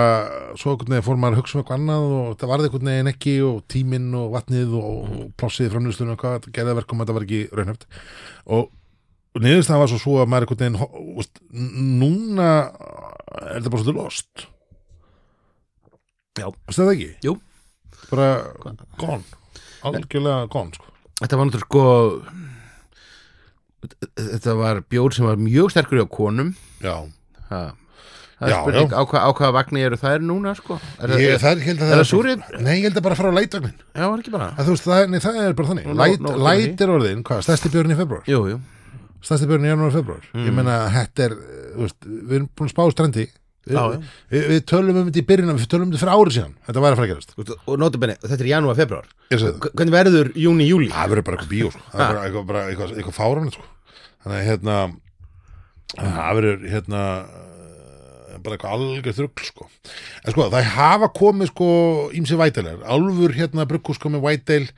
[SPEAKER 1] svo einhvern veginn fór maður að hugsa um eitthvað annað og þetta varði einhvern veginn ekki og tíminn og vatnið og, og plássið í framlýslunum og eitthvað, þetta gerði að verkum að þetta var ekki raunhæft. Og, og niðurstaðan var svo svo að maður einhvern veginn, ho- veist, n- núna er þetta bara svolítið lost.
[SPEAKER 2] Já.
[SPEAKER 1] Veist þetta ekki?
[SPEAKER 2] Jú.
[SPEAKER 1] Bara gone. Algjörlega gone, sko.
[SPEAKER 2] Þetta var náttúrulega sko þetta var bjór sem var mjög sterkur hjá konum
[SPEAKER 1] já.
[SPEAKER 2] ha. það er
[SPEAKER 1] Já,
[SPEAKER 2] spurning
[SPEAKER 1] já.
[SPEAKER 2] á, hva, á hvaða vagni eru þær núna sko er,
[SPEAKER 1] Ég,
[SPEAKER 2] það,
[SPEAKER 1] það er, ég held að
[SPEAKER 2] er
[SPEAKER 1] það
[SPEAKER 2] það súrið?
[SPEAKER 1] Nei, ég held að bara fara á lætvagnin
[SPEAKER 2] já, var ekki bara
[SPEAKER 1] að þú veist, það, nei, það er bara þannig
[SPEAKER 2] Nú, nú-
[SPEAKER 1] Light,
[SPEAKER 2] nú-
[SPEAKER 1] light er orðin, hvað, stærsti björn í februar
[SPEAKER 2] jú, Mm. jú,
[SPEAKER 1] stærsti björn í janúar og februar ég meina, þetta er, þú veist, við erum búin að spá strandi við,
[SPEAKER 2] Já, já.
[SPEAKER 1] við, við tölum um þetta í byrjun við tölum um þetta fyrir ári síðan, þetta væri að fara að gerast
[SPEAKER 2] og, og notabenni, þetta er janúar, februar
[SPEAKER 1] ég segi það,
[SPEAKER 2] hvernig verður júni, júli?
[SPEAKER 1] það verður bara eitthvað bíó sko. það verður eitthvað, bara eitthvað, eitthvað fáramlega sko. þannig að hérna það verður hérna eh, bara eitthvað algjör þrugl sko. en sko það hafa komið sko ímsi vætailegar, alvur hérna brugghús komið vætail,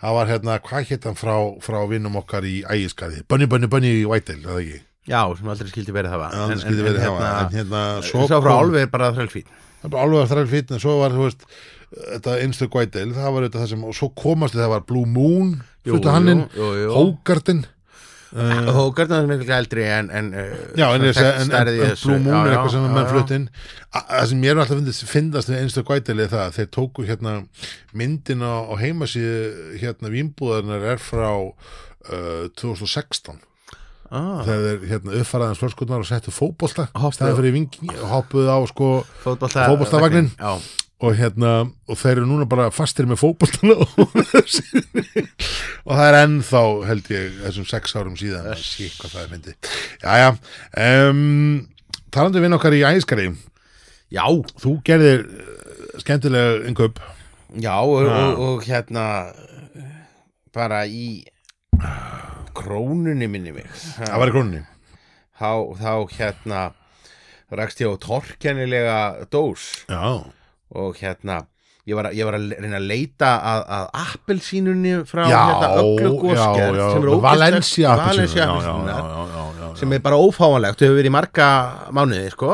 [SPEAKER 1] það var hérna hvað hétt hann frá, frá vinnum okkar í ægiskaði, bönni, bönni, bönni í vætail eða ekki,
[SPEAKER 2] já, sem aldrei skildi verið það var
[SPEAKER 1] en, en, en, hérna, en hérna
[SPEAKER 2] svo frá
[SPEAKER 1] kom-
[SPEAKER 2] álveg er bara þrælfín
[SPEAKER 1] Það var alveg að þræl fýtni, svo var, þú veist, þetta einstök vætil, það var auðvitað það sem, og svo komast við, það var Blue Moon,
[SPEAKER 2] Jú,
[SPEAKER 1] fullt af hanninn,
[SPEAKER 2] jú, jú, jú.
[SPEAKER 1] Hógartinn,
[SPEAKER 2] og Garnar er mikilvæg eldri en, en eh,
[SPEAKER 1] já, en,
[SPEAKER 2] svona
[SPEAKER 1] ég segi,
[SPEAKER 2] þekkt
[SPEAKER 1] en, en,
[SPEAKER 2] stærð í
[SPEAKER 1] en
[SPEAKER 2] þessu.
[SPEAKER 1] Blue Moon
[SPEAKER 2] Já,
[SPEAKER 1] er
[SPEAKER 2] já,
[SPEAKER 1] eitthvað sem
[SPEAKER 2] já,
[SPEAKER 1] er menn
[SPEAKER 2] já.
[SPEAKER 1] flutt inn, A- það sem ég er alltaf fyndist, fyndast við einstök vætil er það, að þeir tóku hérna myndin á, á heimasíðu, hérna vínbúðarnar er frá uh, 2016,
[SPEAKER 2] Ah,
[SPEAKER 1] þegar þeir hérna uppfaraðans flörskunnar og settu fótbolta,
[SPEAKER 2] Hoppuðu.
[SPEAKER 1] staðið fyrir vingi, hoppuðu á sko,
[SPEAKER 2] fótbolta-
[SPEAKER 1] Fótboltavagninn.
[SPEAKER 2] Já.
[SPEAKER 1] og hérna og þeir eru núna bara fastir með fótboltana og, og það er ennþá held ég þessum sex árum síðan að sé hvað það er myndi Jæja, um, talandi við okkar í æskari
[SPEAKER 2] já,
[SPEAKER 1] þú gerðir eh, skemmtilega yngöp
[SPEAKER 2] já og, og, og hérna eh, bara í krónunni minni mig
[SPEAKER 1] það var í króninni
[SPEAKER 2] þá, þá hérna rakst ég á torkennilega dós
[SPEAKER 1] já,
[SPEAKER 2] og hérna ég var, að- ég var að le- reyna að leita að, að appelsínunni frá
[SPEAKER 1] já,
[SPEAKER 2] hérna öllu
[SPEAKER 1] já,
[SPEAKER 2] góskerð
[SPEAKER 1] já,
[SPEAKER 2] sem er ógeðslega-
[SPEAKER 1] Valencia
[SPEAKER 2] Valencia
[SPEAKER 1] appelsínur, já, já,
[SPEAKER 2] appelsínurnar,
[SPEAKER 1] já, já, já, já.
[SPEAKER 2] sem er bara ófáanlegt, þau hefur verið í marga mánuði sko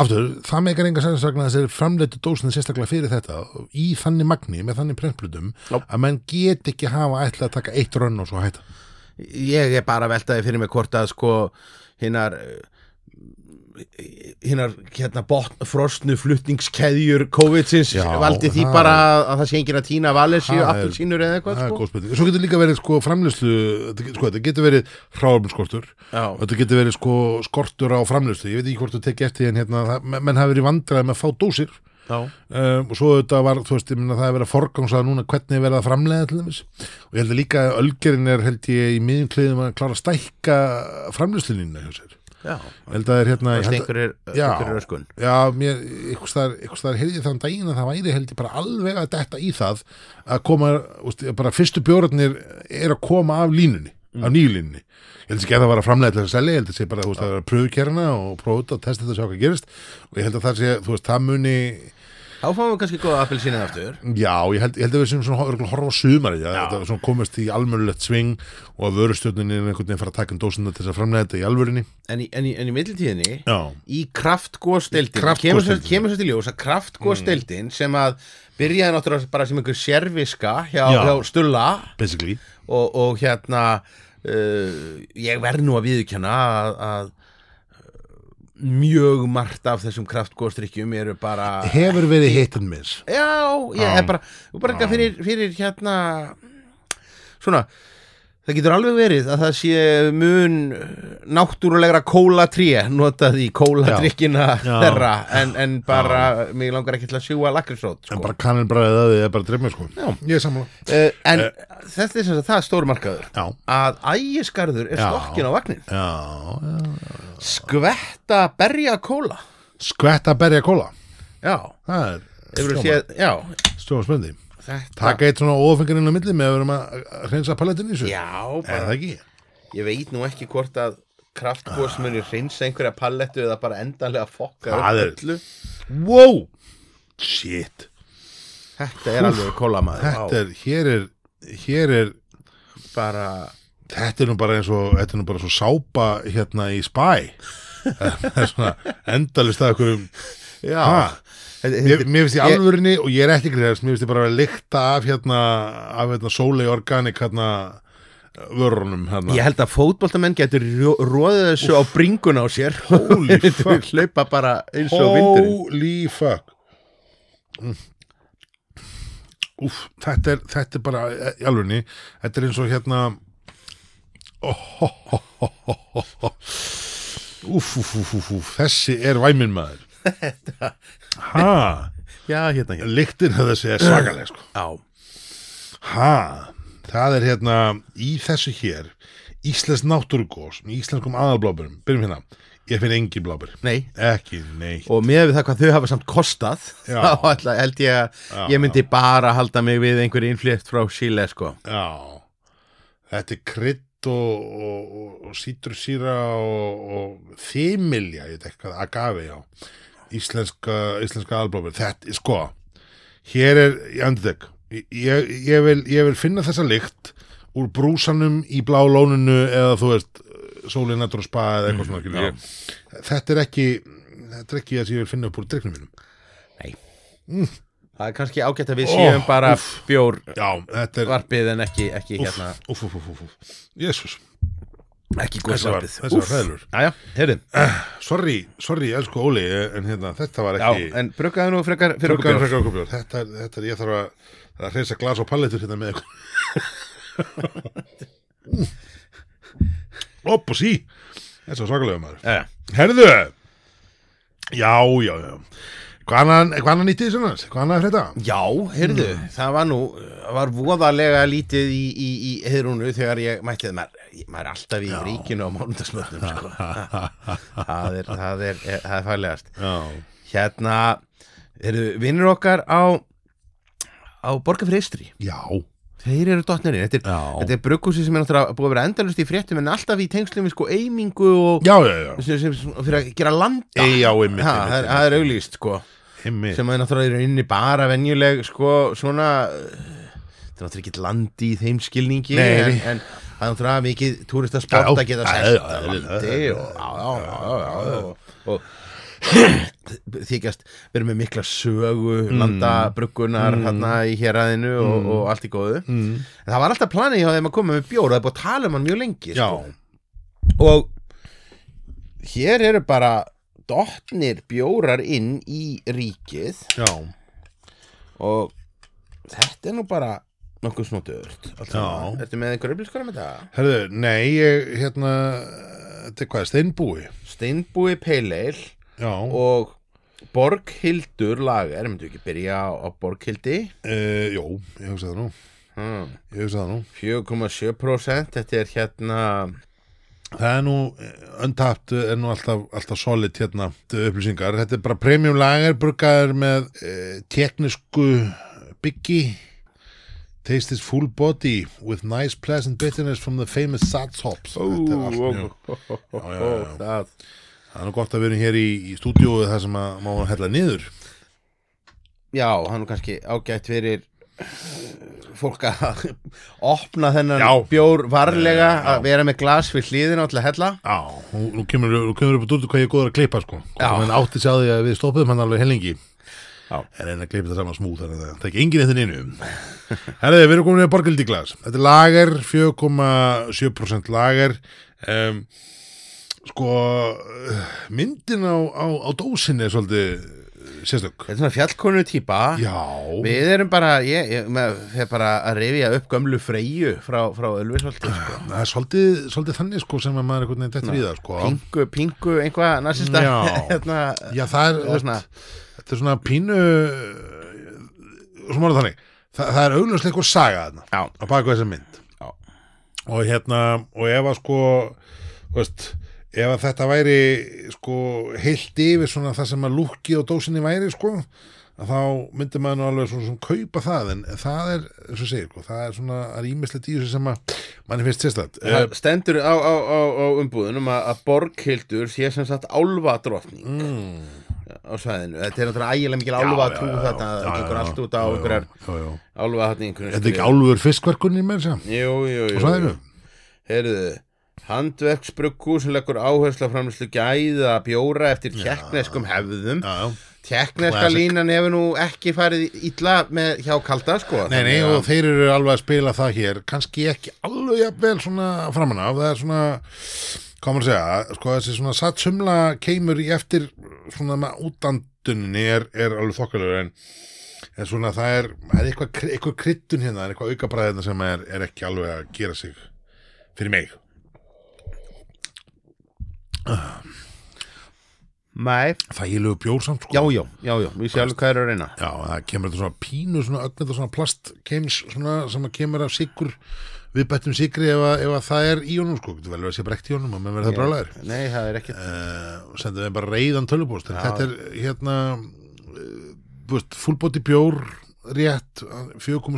[SPEAKER 1] aftur, það meikar enga sæðisvagna þessir framleitu dósinu sérstaklega fyrir þetta í þannig magni, með þannig prentblutum
[SPEAKER 2] Já.
[SPEAKER 1] að menn get ekki hafa ætla að taka eitt rönn og svo hætta
[SPEAKER 2] ég er bara að veltaði fyrir mig hvort að sko hinnar hinnar hérna botn, frostnu flutningskeðjur COVID-sins
[SPEAKER 1] Já,
[SPEAKER 2] valdi því
[SPEAKER 1] það
[SPEAKER 2] bara að, að það sé enginn að tína valesíu,
[SPEAKER 1] Það er-
[SPEAKER 2] appelsínur eða eitthvað
[SPEAKER 1] Það er
[SPEAKER 2] sko.
[SPEAKER 1] góð spurning. Svo getur líka verið sko framlýslu, sko þetta getur verið hráfumskortur,
[SPEAKER 2] Já.
[SPEAKER 1] þetta getur verið sko skortur á framlýslu, ég veit ekki hvort þú tekið eftir því en hérna, það- men- menn hafi verið vandræði með að fá dósir
[SPEAKER 2] Já.
[SPEAKER 1] um, og svo þetta var, þú veist, ég menna það er verið að forgangsraða núna hvernig er verið að framleiða til þess og ég held að líka að ölgerinn er held ég í miðjum kliðum að klára að stækka framlýslunina hjá sér.
[SPEAKER 2] Já.
[SPEAKER 1] Ég held að það er hérna... ég
[SPEAKER 2] Fannst
[SPEAKER 1] held að-
[SPEAKER 2] einhverjir
[SPEAKER 1] Já.
[SPEAKER 2] einhverjir öskun
[SPEAKER 1] Já, mér, ykkur staðar, ykkur staðar heyrði ég þann daginn að það væri held ég bara alveg að detta í það að koma, úst, bara fyrstu bjórarnir er að koma af línunni, af nýju línunni. Ég held ekki að það var að framlega til þess að selja, ég held að sé bara, þú veist, það var að pröfukerna og prófa þetta og testa þetta og sjá hvað gerist og ég held að það sé, þú veist, það muni,
[SPEAKER 2] þá fáum við kannski góða appelsínið aftur
[SPEAKER 1] já, ég held, ég held að við sem svona örugglega að horfa á sumarið, að þetta svona komist í almörulegt sving og að vörustjórninni er einhvern veginn fara að taka um dósina til þess að framlega þetta í alvörinni.
[SPEAKER 2] en í, en í, en í millitíðinni
[SPEAKER 1] Já,
[SPEAKER 2] í kraftgóðsteldin kemur
[SPEAKER 1] kraftgosdeildinni. Mm.
[SPEAKER 2] svo- kemur svo til ljós að kraftgóðsteldin sem að byrjaði náttúrulega bara sem einhver serviska hjá,
[SPEAKER 1] Já.
[SPEAKER 2] hjá Stulla
[SPEAKER 1] basically.
[SPEAKER 2] og, og hérna uh, ég verð nú að viðurkenna að, að uh, mjög margt af þessum kraftgóðstrykkjum eru bara
[SPEAKER 1] Hefur verið hit and miss.
[SPEAKER 2] já, ég
[SPEAKER 1] Já.
[SPEAKER 2] er bara, og bara eitthvað fyrir, fyrir hérna svona Það getur alveg verið að það sé mun náttúrulegra kólatré notað í kóladrykkina
[SPEAKER 1] Já.
[SPEAKER 2] þeirra en, en bara, mig langar ekki til að sjúga lakrisót sko.
[SPEAKER 1] En bara kanninbræðið að þið er bara drefnir sko Já, ég er sammála
[SPEAKER 2] uh, En
[SPEAKER 1] Eh.
[SPEAKER 2] þetta er sem sagt það stórmarkaður
[SPEAKER 1] Já,
[SPEAKER 2] að ægiskarður er
[SPEAKER 1] Já.
[SPEAKER 2] stokkin á vagnin
[SPEAKER 1] já, já
[SPEAKER 2] Skvetta berja kóla
[SPEAKER 1] Skvetta berja kóla
[SPEAKER 2] Já,
[SPEAKER 1] Það er
[SPEAKER 2] hefur
[SPEAKER 1] stjórn-
[SPEAKER 2] séð, já
[SPEAKER 1] stjórn spöndi
[SPEAKER 2] þetta,
[SPEAKER 1] Taka eitt svona ófengarinn á milli með að verum að að hreinsa palettinni í þessu
[SPEAKER 2] Já,
[SPEAKER 1] Er
[SPEAKER 2] bara
[SPEAKER 1] það ekki?
[SPEAKER 2] Ég veit nú ekki hvort að kraftgóðs muni hreinsa einhverja pallettu eða bara endanlega fokka
[SPEAKER 1] Það er-
[SPEAKER 2] upp öllu
[SPEAKER 1] Wow! Shit
[SPEAKER 2] Þetta er alveg kólamaður
[SPEAKER 1] Þetta er, hér er, hér er
[SPEAKER 2] bara
[SPEAKER 1] Þetta er nú bara eins og, þetta er nú bara svo sápa hérna í spæ Það er svona endalist að okkur um
[SPEAKER 2] Já, þetta,
[SPEAKER 1] Mér,
[SPEAKER 2] þetta,
[SPEAKER 1] mér finnst í alvörinni og ég er ekki greiðast mér finnst ég bara að lykta af hérna af hérna Soleil Organic hérna vörunum hérna
[SPEAKER 2] ég held að fótboltamenn getur rjó- roðið þessu á bringun á sér
[SPEAKER 1] Holy fuck.
[SPEAKER 2] Hlaupa bara eins og vindurinn
[SPEAKER 1] Holy fuck Mm. e, Úff, þetta er, þetta er bara í alvörinni, þetta er eins og hérna Úf, úf, úf, úf, úf, þessi er væminn maður Hæ,
[SPEAKER 2] já, hérna, hérna
[SPEAKER 1] lyktin að þessi er svakaleg sko
[SPEAKER 2] Já,
[SPEAKER 1] Hæ, það er hérna í þessu hér Íslensk náttúrugós, með íslenskum aðalbláburum Byrjum hérna, ég finn engin blábur
[SPEAKER 2] nei
[SPEAKER 1] Ekki, nei
[SPEAKER 2] og með við það hvað þau hafa samt kostað
[SPEAKER 1] Já.
[SPEAKER 2] þá ætla, held ég
[SPEAKER 1] Já,
[SPEAKER 2] að ég myndi bara halda mig við einhver innflétt frá Chile sko.
[SPEAKER 1] Já, þetta er krydd og, og, og, og sítrusýra og, og þýmilja, ég veit eitthvað, agave, já. Íslenska, íslenska alblófur, þetta er sko, hér er, ég andur þeg, ég, ég, vil, ég vil finna þessa lykt úr brúsanum í blá lóninu eða þú veist, sólin nættur og spa eða eitthvað svona, skilur ég. Þetta er ekki, þetta er ekki það sem ég vil finna upp úr dryknum mínum.
[SPEAKER 2] það er kannski ágætt að við
[SPEAKER 1] Ó,
[SPEAKER 2] séum bara
[SPEAKER 1] úff.
[SPEAKER 2] bjór
[SPEAKER 1] Já, þetta er,
[SPEAKER 2] varpið en ekki, ekki hérna
[SPEAKER 1] úf, úf, úf, úf, úf, jésus.
[SPEAKER 2] ekki
[SPEAKER 1] Þessi var-
[SPEAKER 2] góðsvarpið
[SPEAKER 1] þessi var hræðilegur.
[SPEAKER 2] já, heyrðu,
[SPEAKER 1] Sorry, sorry, elsku Óli, en hérna, þetta var
[SPEAKER 2] já,
[SPEAKER 1] ekki...
[SPEAKER 2] en bruggaðu nú frekar fyrir okkur
[SPEAKER 1] Frökkar,
[SPEAKER 2] bjór
[SPEAKER 1] frökkar, okkur bjór þetta, er- þetta er, ég þarf að, þarf að hreinsa glas og palletur hérna með ykkur Opp og sí Þetta var svakalega maður
[SPEAKER 2] já, já.
[SPEAKER 1] Herðu Já, já, já Hvað annað- hvað annað nýttið sem hans? Hvað annað er þetta?
[SPEAKER 2] já, heyrðu,
[SPEAKER 1] Mm.
[SPEAKER 2] það var nú var voðalega lítið í, í, í heyrúnu þegar ég mætti það maður, maður er alltaf í ríkinu á mánudagsmöndum sko. það er það er, það er fælegast
[SPEAKER 1] Já,
[SPEAKER 2] hérna eru vinnir okkar á á Borga fyrir Eistri
[SPEAKER 1] já,
[SPEAKER 2] þeir eru dottnirinn, þetta er,
[SPEAKER 1] Já.
[SPEAKER 2] þetta er brukkúsi sem er náttúrulega búið að vera endalust í fréttum en alltaf í tengslum við sko eimingu og
[SPEAKER 1] já, já, já.
[SPEAKER 2] sem, sem, sem, fyrir að gera landa
[SPEAKER 1] Ei, já, einmitt,
[SPEAKER 2] Ha, það er-
[SPEAKER 1] einmitt,
[SPEAKER 2] það er auglýst sko
[SPEAKER 1] einmitt
[SPEAKER 2] sem að náttúrulega eru inni bara venjuleg sko svona eh, þetta er náttúrulega ekki landi í þeim skilningi
[SPEAKER 1] Nei,
[SPEAKER 2] en,
[SPEAKER 1] nei.
[SPEAKER 2] en það er náttúrulega mikið túristasport
[SPEAKER 1] Já,
[SPEAKER 2] að geta
[SPEAKER 1] já,
[SPEAKER 2] sælt
[SPEAKER 1] já,
[SPEAKER 2] að
[SPEAKER 1] já,
[SPEAKER 2] landi
[SPEAKER 1] já,
[SPEAKER 2] og já, já, já, já, já, og- og þykjast verið með mikla sögu
[SPEAKER 1] Mm.
[SPEAKER 2] landabruggunar hérna í héræðinu og, og allt í góðu
[SPEAKER 1] Mm.
[SPEAKER 2] en það var alltaf planið hjá þeim að koma með bjór og það er búið að tala um hann mjög lengi
[SPEAKER 1] Já,
[SPEAKER 2] sko. og hér eru bara dottnir bjórar inn í ríkið
[SPEAKER 1] já,
[SPEAKER 2] og þetta er nú bara nokkuð snótuðurt
[SPEAKER 1] Já.
[SPEAKER 2] Ertu með um einhverju upplýskar með það?
[SPEAKER 1] herðu, nei, ég, hérna Þetta er hvað, steinbúi?
[SPEAKER 2] Steinbúi Peileil
[SPEAKER 1] Já,
[SPEAKER 2] og Borghildur lager, myndu ekki byrja á, á Borghildi
[SPEAKER 1] uh, jó, ég hugsa það nú
[SPEAKER 2] hmm.
[SPEAKER 1] Ég hugsa það nú
[SPEAKER 2] 4,7% þetta er hérna
[SPEAKER 1] Það er nú öndapt er nú alltaf, alltaf solid hérna upplýsingar. Þetta er bara premium lager bruggaður með uh, teknisku byggi Taste is full body with nice pleasant bitterness from the famous Sats hops. Þetta er allt mjög- já, já, já.
[SPEAKER 2] það
[SPEAKER 1] Það er nú gott að vera hér í, í stúdíóið þar sem að má hella niður.
[SPEAKER 2] Já, hann er kannski ágætt fyrir fólk að opna þennan
[SPEAKER 1] Já.
[SPEAKER 2] bjór varlega að vera með glas við hlýðina og til að hella
[SPEAKER 1] Já, nú, nú kemur, nú kemur upp að dútu hvað ég er góður að klippa sko.
[SPEAKER 2] Já.
[SPEAKER 1] Hvort að menn átti sig á því að við stoppuðum hann alveg hellingi.
[SPEAKER 2] Já.
[SPEAKER 1] En reyna að klippa þetta saman smúð þannig að það ekki engin eftir einu. Herði, við erum komin í borgildi glas. Þetta er lager, 4,7% lager. Um, sko, eh, myndin á, á, á dósinni er svolítið eh, sérstök.
[SPEAKER 2] Þetta er svona fjallkonu típa
[SPEAKER 1] Já.
[SPEAKER 2] Við erum bara, ég, ég maður fer bara að rifja upp gömlu freyju frá, frá Ölfisvaldi, sko.
[SPEAKER 1] Það er svolítið, svolítið þannig sko sem að maður er einhvern veginn dettur í það sko.
[SPEAKER 2] Pingu, pingu, einhvað nasista,
[SPEAKER 1] Já.
[SPEAKER 2] hérna,
[SPEAKER 1] Já, það er,
[SPEAKER 2] og
[SPEAKER 1] þú
[SPEAKER 2] svona.
[SPEAKER 1] veist, þetta er svona pínu, eh, svona orðað þannig, Þa, það er augljóslega eitthvað saga þarna,
[SPEAKER 2] Já.
[SPEAKER 1] á baku þessa mynd.
[SPEAKER 2] Já.
[SPEAKER 1] Og hérna, og ef að sko, þú veist, ef að þetta væri sko heilt yfir svona það sem að lúkið og dósinni væri sko, að þá myndi maður nú alveg svona, svona kaupa það, en það er, eins og segir, sko, það er svona, það er ímislegt í þessu sem að manni finnst sérstætt.
[SPEAKER 2] Það stendur á, á, á, á umbúðunum að, að Borghildur sé sem sagt álfadrottning
[SPEAKER 1] Mm.
[SPEAKER 2] á svæðinu. Þetta er náttúrulega ægilega mikil álfatrú þarna,
[SPEAKER 1] Já,
[SPEAKER 2] það
[SPEAKER 1] já,
[SPEAKER 2] gengur
[SPEAKER 1] já,
[SPEAKER 2] allt út á
[SPEAKER 1] já, já,
[SPEAKER 2] einhverjar
[SPEAKER 1] já, já.
[SPEAKER 2] álfahatningunum.
[SPEAKER 1] Þetta er ekki álfur fiskverkunni með þess að?
[SPEAKER 2] Jú, jú, jú.
[SPEAKER 1] Og svæðinu?
[SPEAKER 2] Herðu, handverksbruggu sem leggur áhersla framlýslu gæða bjóra eftir tjekkneskum hefðum.
[SPEAKER 1] Já, já.
[SPEAKER 2] Tekneska
[SPEAKER 1] Classic.
[SPEAKER 2] línan hefur nú ekki farið illa með hjá kalda sko
[SPEAKER 1] Nei, nei,
[SPEAKER 2] þannig að-
[SPEAKER 1] og þeir eru alveg að spila það hér kannski ekki alveg jafnvel svona framan af, það er svona hvað maður að segja, sko þessi svona satsumla keimur í eftir svona með útanduninni er, er alveg þokkalegur en, en svona það er það er eitthvað, kry- eitthvað kryddun hérna, það er eitthvað aukabræðina sem er, er ekki alveg að gera sig fyrir mig
[SPEAKER 2] Nei,
[SPEAKER 1] Þægilegu bjór samt sko
[SPEAKER 2] já, já, já, já, ég sé alveg hvað er að reyna
[SPEAKER 1] Já, það kemur þetta svona pínu, svona ögn þetta svona plast keims, svona sem að kemur af sigur við bættum sigri ef að, ef að það er í honum sko, getur vel verið að sé brekt í honum og menn verða það brálaðir
[SPEAKER 2] Nei, það er ekkert
[SPEAKER 1] uh, sendum við bara reyðan tölvupóst en þetta er hérna uh, fullbóti bjór rétt 4,7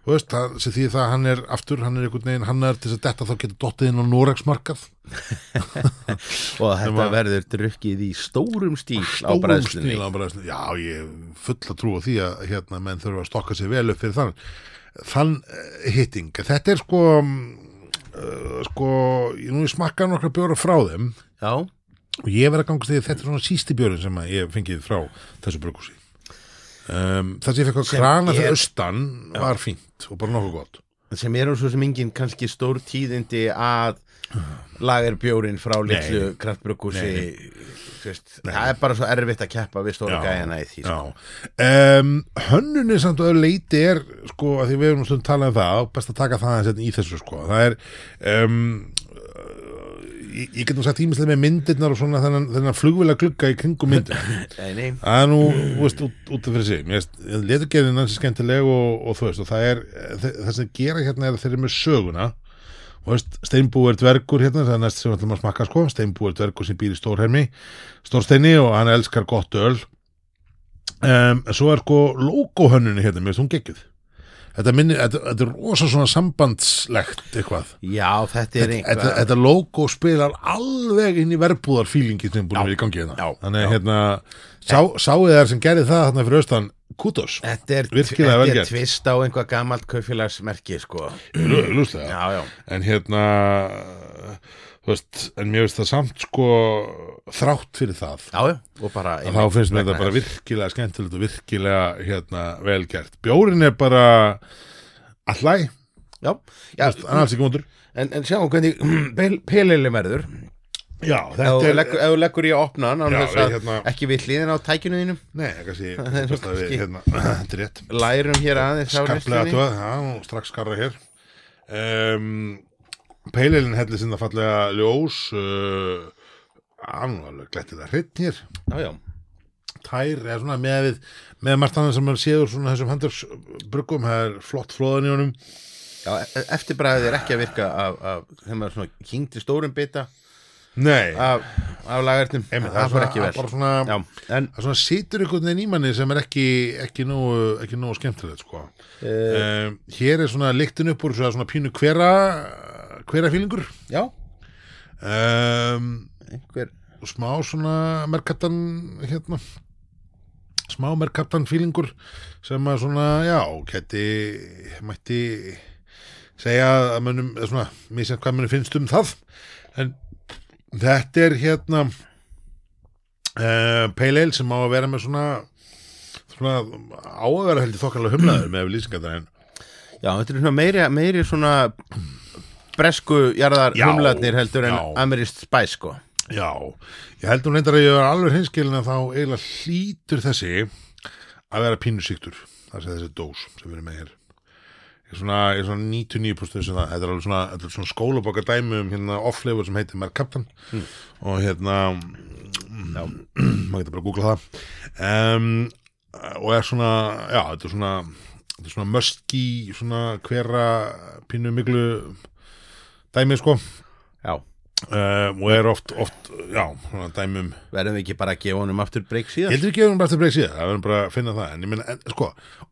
[SPEAKER 1] þú veist, það, sem því það hann er aftur, hann er einhvern veginn, hann er til þess að þetta þá getur dottið inn á Noregsmarkað
[SPEAKER 2] Og þetta verður drukkið í stórum stíl á
[SPEAKER 1] Stórum
[SPEAKER 2] bræðslunni
[SPEAKER 1] stíl á bræðslunni Já, ég hef fulla trú á því að hérna, menn þurfa að stokka sér vel upp fyrir þann þann eh, hitting þetta er sko uh, sko, ég nú ég smakka nokkra bjóra frá þeim
[SPEAKER 2] Já,
[SPEAKER 1] og ég verð að gangast því að þetta er svona sísti bjórin sem að ég hef fengið frá þessu brugghúsi um, það sem ég fekk að
[SPEAKER 2] Sem
[SPEAKER 1] krana
[SPEAKER 2] er-
[SPEAKER 1] þegar austan var fínt og bara nokkuð gott
[SPEAKER 2] sem eru svo sem engin kannski stór tíðindi að lagar bjórin frá litlu kraftbrukkusi það er bara svo erfitt að keppa við stóra gæjana í því sko.
[SPEAKER 1] Já, um, hönnunni samt og öll leiti er sko, að því við erum stundum talað um það og best að taka það aðeins hérna í þessu sko það er um, ég, ég getum sagt ímislega með myndirnar og svona þennan, þennan flugvila glugga í kringum myndirnar
[SPEAKER 2] Nei, nei,
[SPEAKER 1] Það er nú, þú veist, út, út af fyrir sig Mér veist, leturgerðin hans er skemmtileg og, og þú veist, og það er þe- það sem gera hérna er að þeir eru með söguna og þú veist, steinbú er dvergur hérna það er næst sem við ætlum að smakka sko steinbú er dvergur sem býr í stórhermi stórsteini og hann elskar gott öl um, svo er sko logohönnunni hérna, mér veist, hún geggjuð Þetta, minni, þetta, þetta er rosa svona sambandslegt eitthvað.
[SPEAKER 2] já, þetta er
[SPEAKER 1] Þetta,
[SPEAKER 2] einhver
[SPEAKER 1] þetta logo spilar alveg inn í verbúðarfílingi sem búin að vera í gangi hérna.
[SPEAKER 2] já,
[SPEAKER 1] Þannig
[SPEAKER 2] já. Eh,
[SPEAKER 1] að hérna, sá, sáuð þær sem gerði það þarna fyrir austan, kudos.
[SPEAKER 2] Þetta er,
[SPEAKER 1] Virkilega vel
[SPEAKER 2] þetta er
[SPEAKER 1] gert.
[SPEAKER 2] tvist á einhvað gamalt kaufélagsmerki sko.
[SPEAKER 1] Lúslega.
[SPEAKER 2] Já, já,
[SPEAKER 1] En hérna, þú veist, en mér veist það samt sko þrátt fyrir það.
[SPEAKER 2] já, já og bara
[SPEAKER 1] að þá finnst mér þetta bara virkilega skemmtilegt og virkilega hérna velgert. Bjórin er bara allæg,
[SPEAKER 2] Já, já,
[SPEAKER 1] hann er alls ekki mútur.
[SPEAKER 2] en, en sjáum hvernig pel- pelilin verður
[SPEAKER 1] Já,
[SPEAKER 2] Ef
[SPEAKER 1] þetta
[SPEAKER 2] þú
[SPEAKER 1] er,
[SPEAKER 2] leggur- ef þú leggur í að opna hann án
[SPEAKER 1] Já,
[SPEAKER 2] þess að
[SPEAKER 1] hérna-
[SPEAKER 2] ekki við hliðin á tækinu þínum
[SPEAKER 1] nei, kannski, kannski,
[SPEAKER 2] kannski-
[SPEAKER 1] hérna, þetta er rétt.
[SPEAKER 2] lærum hér aðeins á
[SPEAKER 1] skarplega
[SPEAKER 2] reynslunni.
[SPEAKER 1] tóð, já, nú strax skarra hér um, Peililin hellir sinna fallega ljós uh, hann var alveg glættið að hrytt hér
[SPEAKER 2] Já, já
[SPEAKER 1] tær er svona með við með marstanum sem maður séður svona þessum handurbrugum, það er flott flóðan í honum
[SPEAKER 2] Já, e- eftirbræðið er ekki að virka af, af þeim að svona kynnti stórum bita
[SPEAKER 1] Nei,
[SPEAKER 2] af, af lagartum
[SPEAKER 1] einmitt,
[SPEAKER 2] það fór
[SPEAKER 1] svona-
[SPEAKER 2] ekki vel
[SPEAKER 1] bara svona,
[SPEAKER 2] Já, en
[SPEAKER 1] það svona situr einhvern veginn í manni sem er ekki, ekki nógu, ekki nógu skemmtilegt sko.
[SPEAKER 2] uh,
[SPEAKER 1] um, hér er svona lyktin upp úr þessu, það er svona pínu hvera hvera fílingur
[SPEAKER 2] já,
[SPEAKER 1] um,
[SPEAKER 2] einhver
[SPEAKER 1] og smá svona merkatan hérna smá merkatan fílingur sem að svona, já, geti mætti segja að mönnum, eða svona, misjant hvað mönnum finnst um það en þetta er hérna uh, Pale Ale sem á að vera með svona svona á að vera heldur þokkarlega humlaður með lýsingarnar en
[SPEAKER 2] Já, þetta er svona meiri, meiri svona bresku jarðar
[SPEAKER 1] Já,
[SPEAKER 2] humlarnir heldur en
[SPEAKER 1] já.
[SPEAKER 2] amerist spæs sko
[SPEAKER 1] Já, ég heldur reyndar að ég var alveg hinskilin að þá eiginlega hlýtur þessi að vera pínu síktur það sé þessi dós sem við erum með hér ég er svona, ég er svona 99% sem það þetta er alveg svona, þetta er svona skólabokka dæmi um hérna off-flavor sem heitir Mark Captain og hérna já, maður getur bara að googla það um, og er svona já, þetta er svona þetta er svona möski, svona hvera pínu miklu dæmi sko
[SPEAKER 2] Já,
[SPEAKER 1] um, og er oft, oft já, svona dæmum
[SPEAKER 2] verðum við ekki bara að gefa honum aftur breyk
[SPEAKER 1] ég
[SPEAKER 2] síðan
[SPEAKER 1] heldur ekki að við erum bara eftir breyk síðan, það verðum bara að finna það en ég meina, en, sko,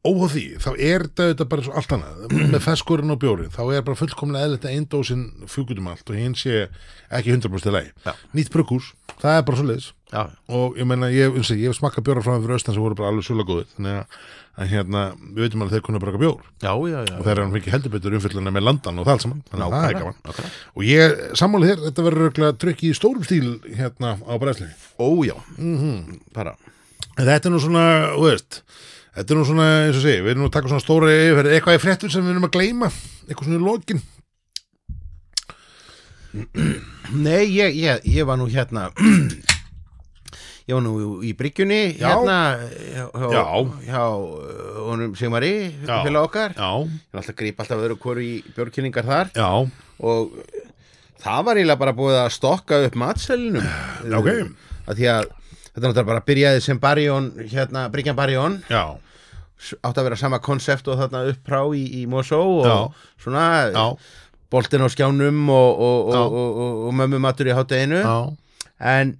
[SPEAKER 1] óháð því þá er þetta auðvitað bara svo allt annað með feskurinn og bjórin, þá er bara fullkomlega eðlita einn dósin fúkutum allt og hins sé ekki 100%
[SPEAKER 2] Já.
[SPEAKER 1] lei nýtt brugghús, það er bara svo leiðis
[SPEAKER 2] Já,
[SPEAKER 1] og ég meina, ég, eins og ég hef smakkað bjóra frá þeim fyrir austan sem voru bara alveg svolga góðir þannig að, að hérna, við veitum alveg að þeir kunna braka bjór
[SPEAKER 2] já, já, já
[SPEAKER 1] og þeir eru ekki heldur betur umfylluna með landan og það allt saman, þannig að það er
[SPEAKER 2] Nákvæmlega,
[SPEAKER 1] gaman og ég sammála þér, þetta verður örugglega drukkið í stórum stíl hérna á bræðslinni
[SPEAKER 2] Ó, já, bara
[SPEAKER 1] En Þetta er nú svona, þú veist Þetta er nú svona, eins og segi, við erum nú að taka svona stóra yfir eitthvað í fréttum sem við erum að gleyma eitthvað svona í lokin
[SPEAKER 2] Nei, ég, ég, ég var nú hérna Ég var nú í bryggjunni
[SPEAKER 1] Já.
[SPEAKER 2] hérna hjá,
[SPEAKER 1] Já.
[SPEAKER 2] hjá uh, honum Sigmari
[SPEAKER 1] Já.
[SPEAKER 2] félag okkar
[SPEAKER 1] Já,
[SPEAKER 2] Ég er alltaf að grípa alltaf öðru hverju í björkynningar þar
[SPEAKER 1] já,
[SPEAKER 2] og það var eiginlega bara búið að stokka upp matselinum
[SPEAKER 1] ok.
[SPEAKER 2] að því að þetta er náttúrulega bara byrjaði sem Barjón hérna, Bryggjan Barjón
[SPEAKER 1] já,
[SPEAKER 2] átt að vera sama konsept og þarna uppprá í, í Mosó og
[SPEAKER 1] Já.
[SPEAKER 2] svona
[SPEAKER 1] já,
[SPEAKER 2] boltinn á skjánum og, og,
[SPEAKER 1] Já.
[SPEAKER 2] og, og, og, og mömmu matur í hátteginu
[SPEAKER 1] já
[SPEAKER 2] en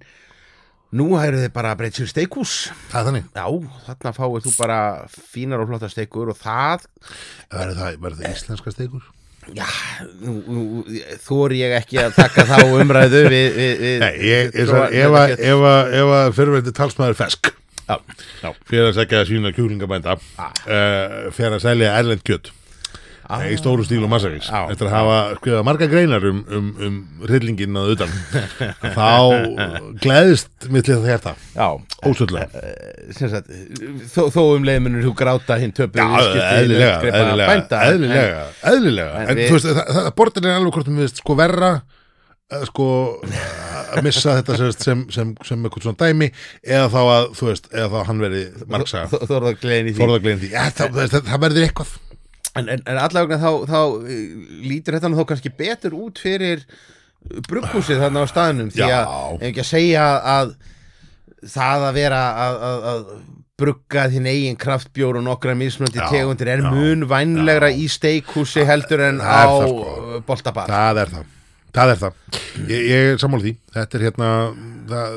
[SPEAKER 2] nú eru þið bara að breyta sér steikús
[SPEAKER 1] það er þannig,
[SPEAKER 2] já, þarna fáið þú bara fínar og flottar steikur og það
[SPEAKER 1] verður það, verður það íslenska steikur
[SPEAKER 2] já, nú, nú þór ég ekki að taka þá umræðu við, við, við
[SPEAKER 1] Nei, ég, ég,
[SPEAKER 2] Svo-
[SPEAKER 1] sagði, ef, að- ef, að- ef að fyrirverði talsmaður fesk
[SPEAKER 2] já, já,
[SPEAKER 1] fyrir að segja sína kjúklingabænda ah. fyrir að selja erlend kjött ah. í stóru stíl og massavís
[SPEAKER 2] Já.
[SPEAKER 1] eftir að hafa skrifað marga greinar um, um, um rillingin að utan þá gleðist mitt lið þetta
[SPEAKER 2] já
[SPEAKER 1] ósöllega
[SPEAKER 2] Eh, sem sagt, þó, þó um leið munir þú gráta hinn töpu
[SPEAKER 1] Eh, eðlilega, eðlilega, eðlilega, eðlilega.
[SPEAKER 2] en
[SPEAKER 1] En,
[SPEAKER 2] við-
[SPEAKER 1] þú veist, það, það bortin er alveg hvort um við sko verra eh, sko að missa þetta sem, sem, sem, sem eitthvað svona dæmi eða þá að, þú veist, eða þá að hann veri margsa,
[SPEAKER 2] þorða gleðin í því
[SPEAKER 1] forðaglegin því, ja, það,
[SPEAKER 2] Eh,
[SPEAKER 1] það, það verður eitthvað
[SPEAKER 2] en, en, en allavegna þá, þá eh, lítur þetta nú þá kannski betur út fyrir brugghúsið þarna á staðnum því að,
[SPEAKER 1] Já.
[SPEAKER 2] ef ekki að segja að það að vera að, að, að brugga þín eigin kraftbjór og nokkra mismunandi
[SPEAKER 1] Já,
[SPEAKER 2] tegundir er
[SPEAKER 1] já,
[SPEAKER 2] mun vænlegra í steikhúsi heldur en
[SPEAKER 1] Það
[SPEAKER 2] á
[SPEAKER 1] er það, sko.
[SPEAKER 2] boltabar
[SPEAKER 1] það er það það er það, ég, ég er sammála því þetta er hérna það,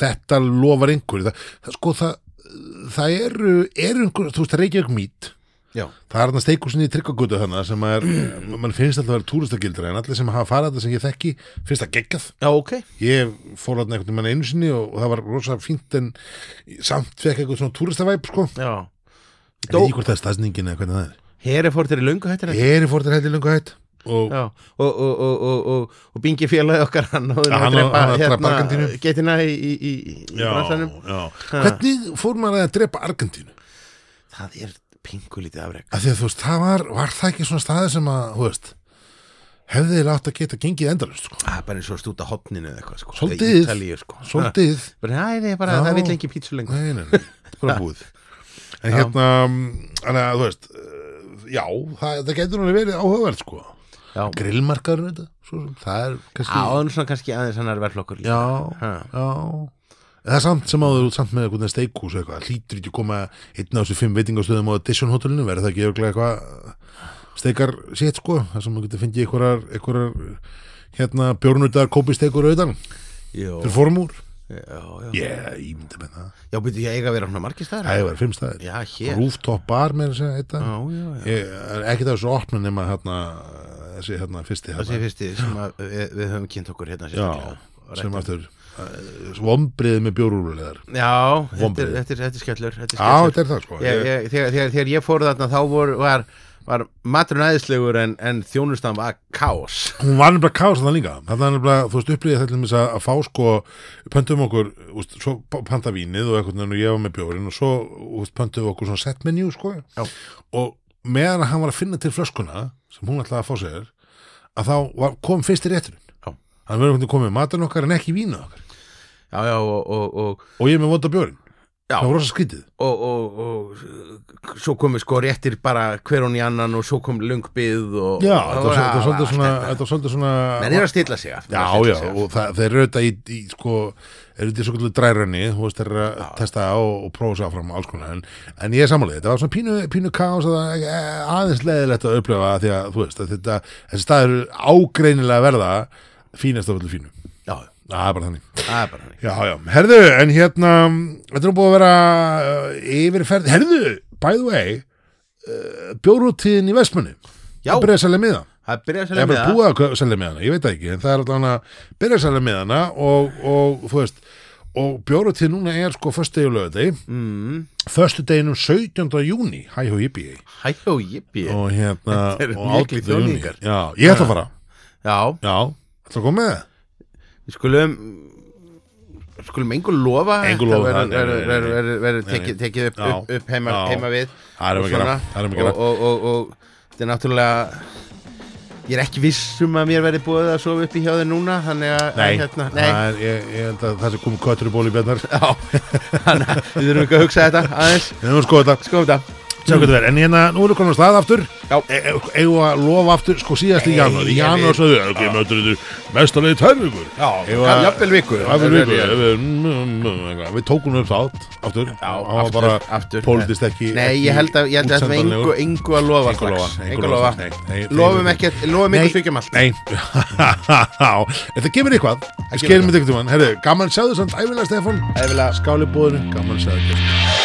[SPEAKER 1] þetta lofar einhverju það, það, sko það, það eru eru einhverju, þú veist, það reykja ekki mít
[SPEAKER 2] Já,
[SPEAKER 1] það er hann að steikursinni í tryggagötu þannig sem er, mann finnst alltaf að vera túristagildra en allir sem hafa farað þetta sem ég þekki finnst það geggjað
[SPEAKER 2] já ok
[SPEAKER 1] ég fór hann einhvern veginn einu sinni og, og það var rosa fínt en samt fekk eitthvað svona túristavæp sko.
[SPEAKER 2] já.
[SPEAKER 1] ég veit ekki hvort það er staðsningin eða hvernig það
[SPEAKER 2] Herefórt er í löngu hættir
[SPEAKER 1] er ég er fór þetta hætti löngu hætt og
[SPEAKER 2] Já, og, og, og, og, og, og bingi félagi okkar hann og
[SPEAKER 1] Já, hann á- hann á að drepa Argentínu.
[SPEAKER 2] hérna, getina í, í, í, í
[SPEAKER 1] Já,
[SPEAKER 2] bransanum
[SPEAKER 1] já. Hvernig fór maður að drepa Argentínu?
[SPEAKER 2] Það er pingulítið afreg
[SPEAKER 1] Af því að þú veist, það var, var það ekki svona staði sem að, þú veist, hefði þeir átt að geta gengið endalust, sko.
[SPEAKER 2] Það er bara eins og stúta hotninu eða eitthvað sko.
[SPEAKER 1] Svolítið.
[SPEAKER 2] Eða Ítalíu sko.
[SPEAKER 1] Svolítið,
[SPEAKER 2] Ha, Bara, Æ, nei, bara,
[SPEAKER 1] Já.
[SPEAKER 2] það vill ekki pítsu lengur
[SPEAKER 1] nei, nei, nei, þetta er bara búið. En hérna, hana, þú veist, eh, já, það, það getur hann verið áhugaverð, sko.
[SPEAKER 2] Já,
[SPEAKER 1] Grillmarkaður, veit það, svo sem, það er kannski,
[SPEAKER 2] áður svona kannski aðeins hann er verðflokkur líka
[SPEAKER 1] já,
[SPEAKER 2] Ha.
[SPEAKER 1] já. En Það er samt sem áður samt með eitthvað steikús og eitthvað, hlýtur ekki að koma einn af þessu fimm veitingastöðum á Edition hotellinu, verður það ekki örugglega eitthvað steikar sétt sko, þar sem þú getur fengið einhverjar, einhverjar hérna bjórnutar kópi steikur auðan
[SPEAKER 2] Jó,
[SPEAKER 1] fyrir formúr.
[SPEAKER 2] já, já
[SPEAKER 1] Ég yeah, ímyndi með það.
[SPEAKER 2] Já, byrju, ég eiga að vera svona margir staðar
[SPEAKER 1] Það hefur verið fimm staðir.
[SPEAKER 2] Já, hér Já,
[SPEAKER 1] Rooftop bar með þess að heita.
[SPEAKER 2] já, já
[SPEAKER 1] Ég er ekki það þessu opna nema hérna, þessi hérna fyrsti
[SPEAKER 2] Það sé
[SPEAKER 1] hérna.
[SPEAKER 2] fyrsti sem að, við, við höfum kynnt okkur hérna
[SPEAKER 1] Já,
[SPEAKER 2] sérstaklega
[SPEAKER 1] sem aftur vombriðið með bjórúrlegar.
[SPEAKER 2] Já, þetta er,
[SPEAKER 1] Vonbrigði.
[SPEAKER 2] þetta er, þetta er skellur Þetta er
[SPEAKER 1] Já,
[SPEAKER 2] skellur
[SPEAKER 1] þetta er það sko.
[SPEAKER 2] ég,
[SPEAKER 1] Ég-
[SPEAKER 2] ég, þegar, þegar, þegar ég fór þarna þá vor, var, var maturinn aðeinslegur en, en þjónustan var kaos
[SPEAKER 1] hún var nefnilega kás þannig líka þannig er nefnilega, þú veist, upplýðið þetta til þess að að fá sko, pöntum okkur úst, svo p- panta vínið og eitthvað og ég var með bjórin og svo úst, pöntum við okkur svona set menu sko
[SPEAKER 2] Já.
[SPEAKER 1] og meðan hann var að finna til flöskuna sem hún ætlaði að fá sér að þá var, kom fyrst í rétturinn
[SPEAKER 2] Já.
[SPEAKER 1] hann verður hvernig komið matan okkar en ekki vína okkar
[SPEAKER 2] Já, já, og, og, og
[SPEAKER 1] og ég er með vonda bjórin
[SPEAKER 2] Já.
[SPEAKER 1] það var rosa skrítið
[SPEAKER 2] og, og, og svo komu sko réttir bara hver hún í annan og svo kom lungbið og
[SPEAKER 1] Já, þetta
[SPEAKER 2] og
[SPEAKER 1] var, þetta var svolítið svona,
[SPEAKER 2] allt
[SPEAKER 1] þetta var svolítið svona
[SPEAKER 2] þetta. menn er að stilla sig af
[SPEAKER 1] Já, já, og það, þeir eru þetta í, í sko, eru þetta í svo kvöldu drærunni þú veist, þeir eru að testa og, og prófa sér áfram og alls konar, en, en ég er samanlega þetta var svona pínu, pínu kaos að, eh, aðeins leiðilegt að upplifa því að, þú veist, að þetta þessi staður eru ágreinilega að verða fínast af öllu fínu,
[SPEAKER 2] já,
[SPEAKER 1] það er bara þannig
[SPEAKER 2] það er bara þannig
[SPEAKER 1] Já, já, herðu, en hérna þetta er nú búið að vera uh, yfirferð, herðu, by the way uh, bjórútíðin í Vestmanni
[SPEAKER 2] Já.
[SPEAKER 1] að byrja að selja miða
[SPEAKER 2] það er byrjað að
[SPEAKER 1] Það
[SPEAKER 2] selja
[SPEAKER 1] er bara búið að kau- selja með hana, ég veit það ekki en það er allan að byrja að selja með hana og, og þú veist og bjóru til núna er sko föstudegi og lögadegi
[SPEAKER 2] mm,
[SPEAKER 1] föstudeginum 17. júni hæ hjá IPA
[SPEAKER 2] hæjó, jippi
[SPEAKER 1] og hérna
[SPEAKER 2] Þetta eru
[SPEAKER 1] og 18.
[SPEAKER 2] miklir
[SPEAKER 1] júní.
[SPEAKER 2] þjóðningar.
[SPEAKER 1] Já, ég ætla að fara
[SPEAKER 2] já,
[SPEAKER 1] Já, ætla að koma með það
[SPEAKER 2] við skulum skulum engu lofa
[SPEAKER 1] Engu lofa það, nei, nei, nei, nei. Nei, nei.
[SPEAKER 2] verður tekið upp,
[SPEAKER 1] Já.
[SPEAKER 2] upp, upp heima,
[SPEAKER 1] Já.
[SPEAKER 2] heima við
[SPEAKER 1] Það erum
[SPEAKER 2] og
[SPEAKER 1] að gera,
[SPEAKER 2] svona.
[SPEAKER 1] það erum að gera
[SPEAKER 2] og, og, og, og þetta er náttúrulega ég er ekki viss um að mér verði búið að sofa upp í hjá þeir núna þannig að
[SPEAKER 1] Nei,
[SPEAKER 2] hérna,
[SPEAKER 1] það er, ég, ég held að það sem komið köttur í bóli í bjarnar
[SPEAKER 2] Já, þannig að við þurfum ekki að hugsa þetta aðeins
[SPEAKER 1] Við erum að skoða þetta
[SPEAKER 2] Skoðum þetta
[SPEAKER 1] Sjá hvað það er, en hérna, nú erum við konum stað aftur
[SPEAKER 2] Mm. Já.
[SPEAKER 1] E- e- Eigum við að lofa aftur, sko síðast í
[SPEAKER 2] Nei,
[SPEAKER 1] janúar Í
[SPEAKER 2] ég
[SPEAKER 1] janúar
[SPEAKER 2] veit.
[SPEAKER 1] sagði, ok, mötur þetta mestalegi tær vikur
[SPEAKER 2] Já,
[SPEAKER 1] Eigum við
[SPEAKER 2] kann-
[SPEAKER 1] að-
[SPEAKER 2] jafnvel viku.
[SPEAKER 1] Jafnvel viku,
[SPEAKER 2] Já.
[SPEAKER 1] ef við- mm, mm, mm, eitthvað. Við tókum upp þátt, aftur Hann var
[SPEAKER 2] aftur,
[SPEAKER 1] bara
[SPEAKER 2] aftur.
[SPEAKER 1] Pólitist ekki
[SPEAKER 2] Nei, ég held að, ég held að þetta var engu,
[SPEAKER 1] útsendanlegur.
[SPEAKER 2] engu að lofa
[SPEAKER 1] Engu að
[SPEAKER 2] strax.
[SPEAKER 1] lofa,
[SPEAKER 2] Engu að lofa
[SPEAKER 1] Nei, nei, þeir-
[SPEAKER 2] Lofum ekki, lofum
[SPEAKER 1] Nei.
[SPEAKER 2] ekki þykjum allt
[SPEAKER 1] Nei, þetta kemur eitthvað Við
[SPEAKER 2] kemur
[SPEAKER 1] skerum þetta eitthvað, herðu, gaman sjáðu samt æfilega Stefán
[SPEAKER 2] Æfilega.
[SPEAKER 1] Skáli búðinu, gaman sjáðu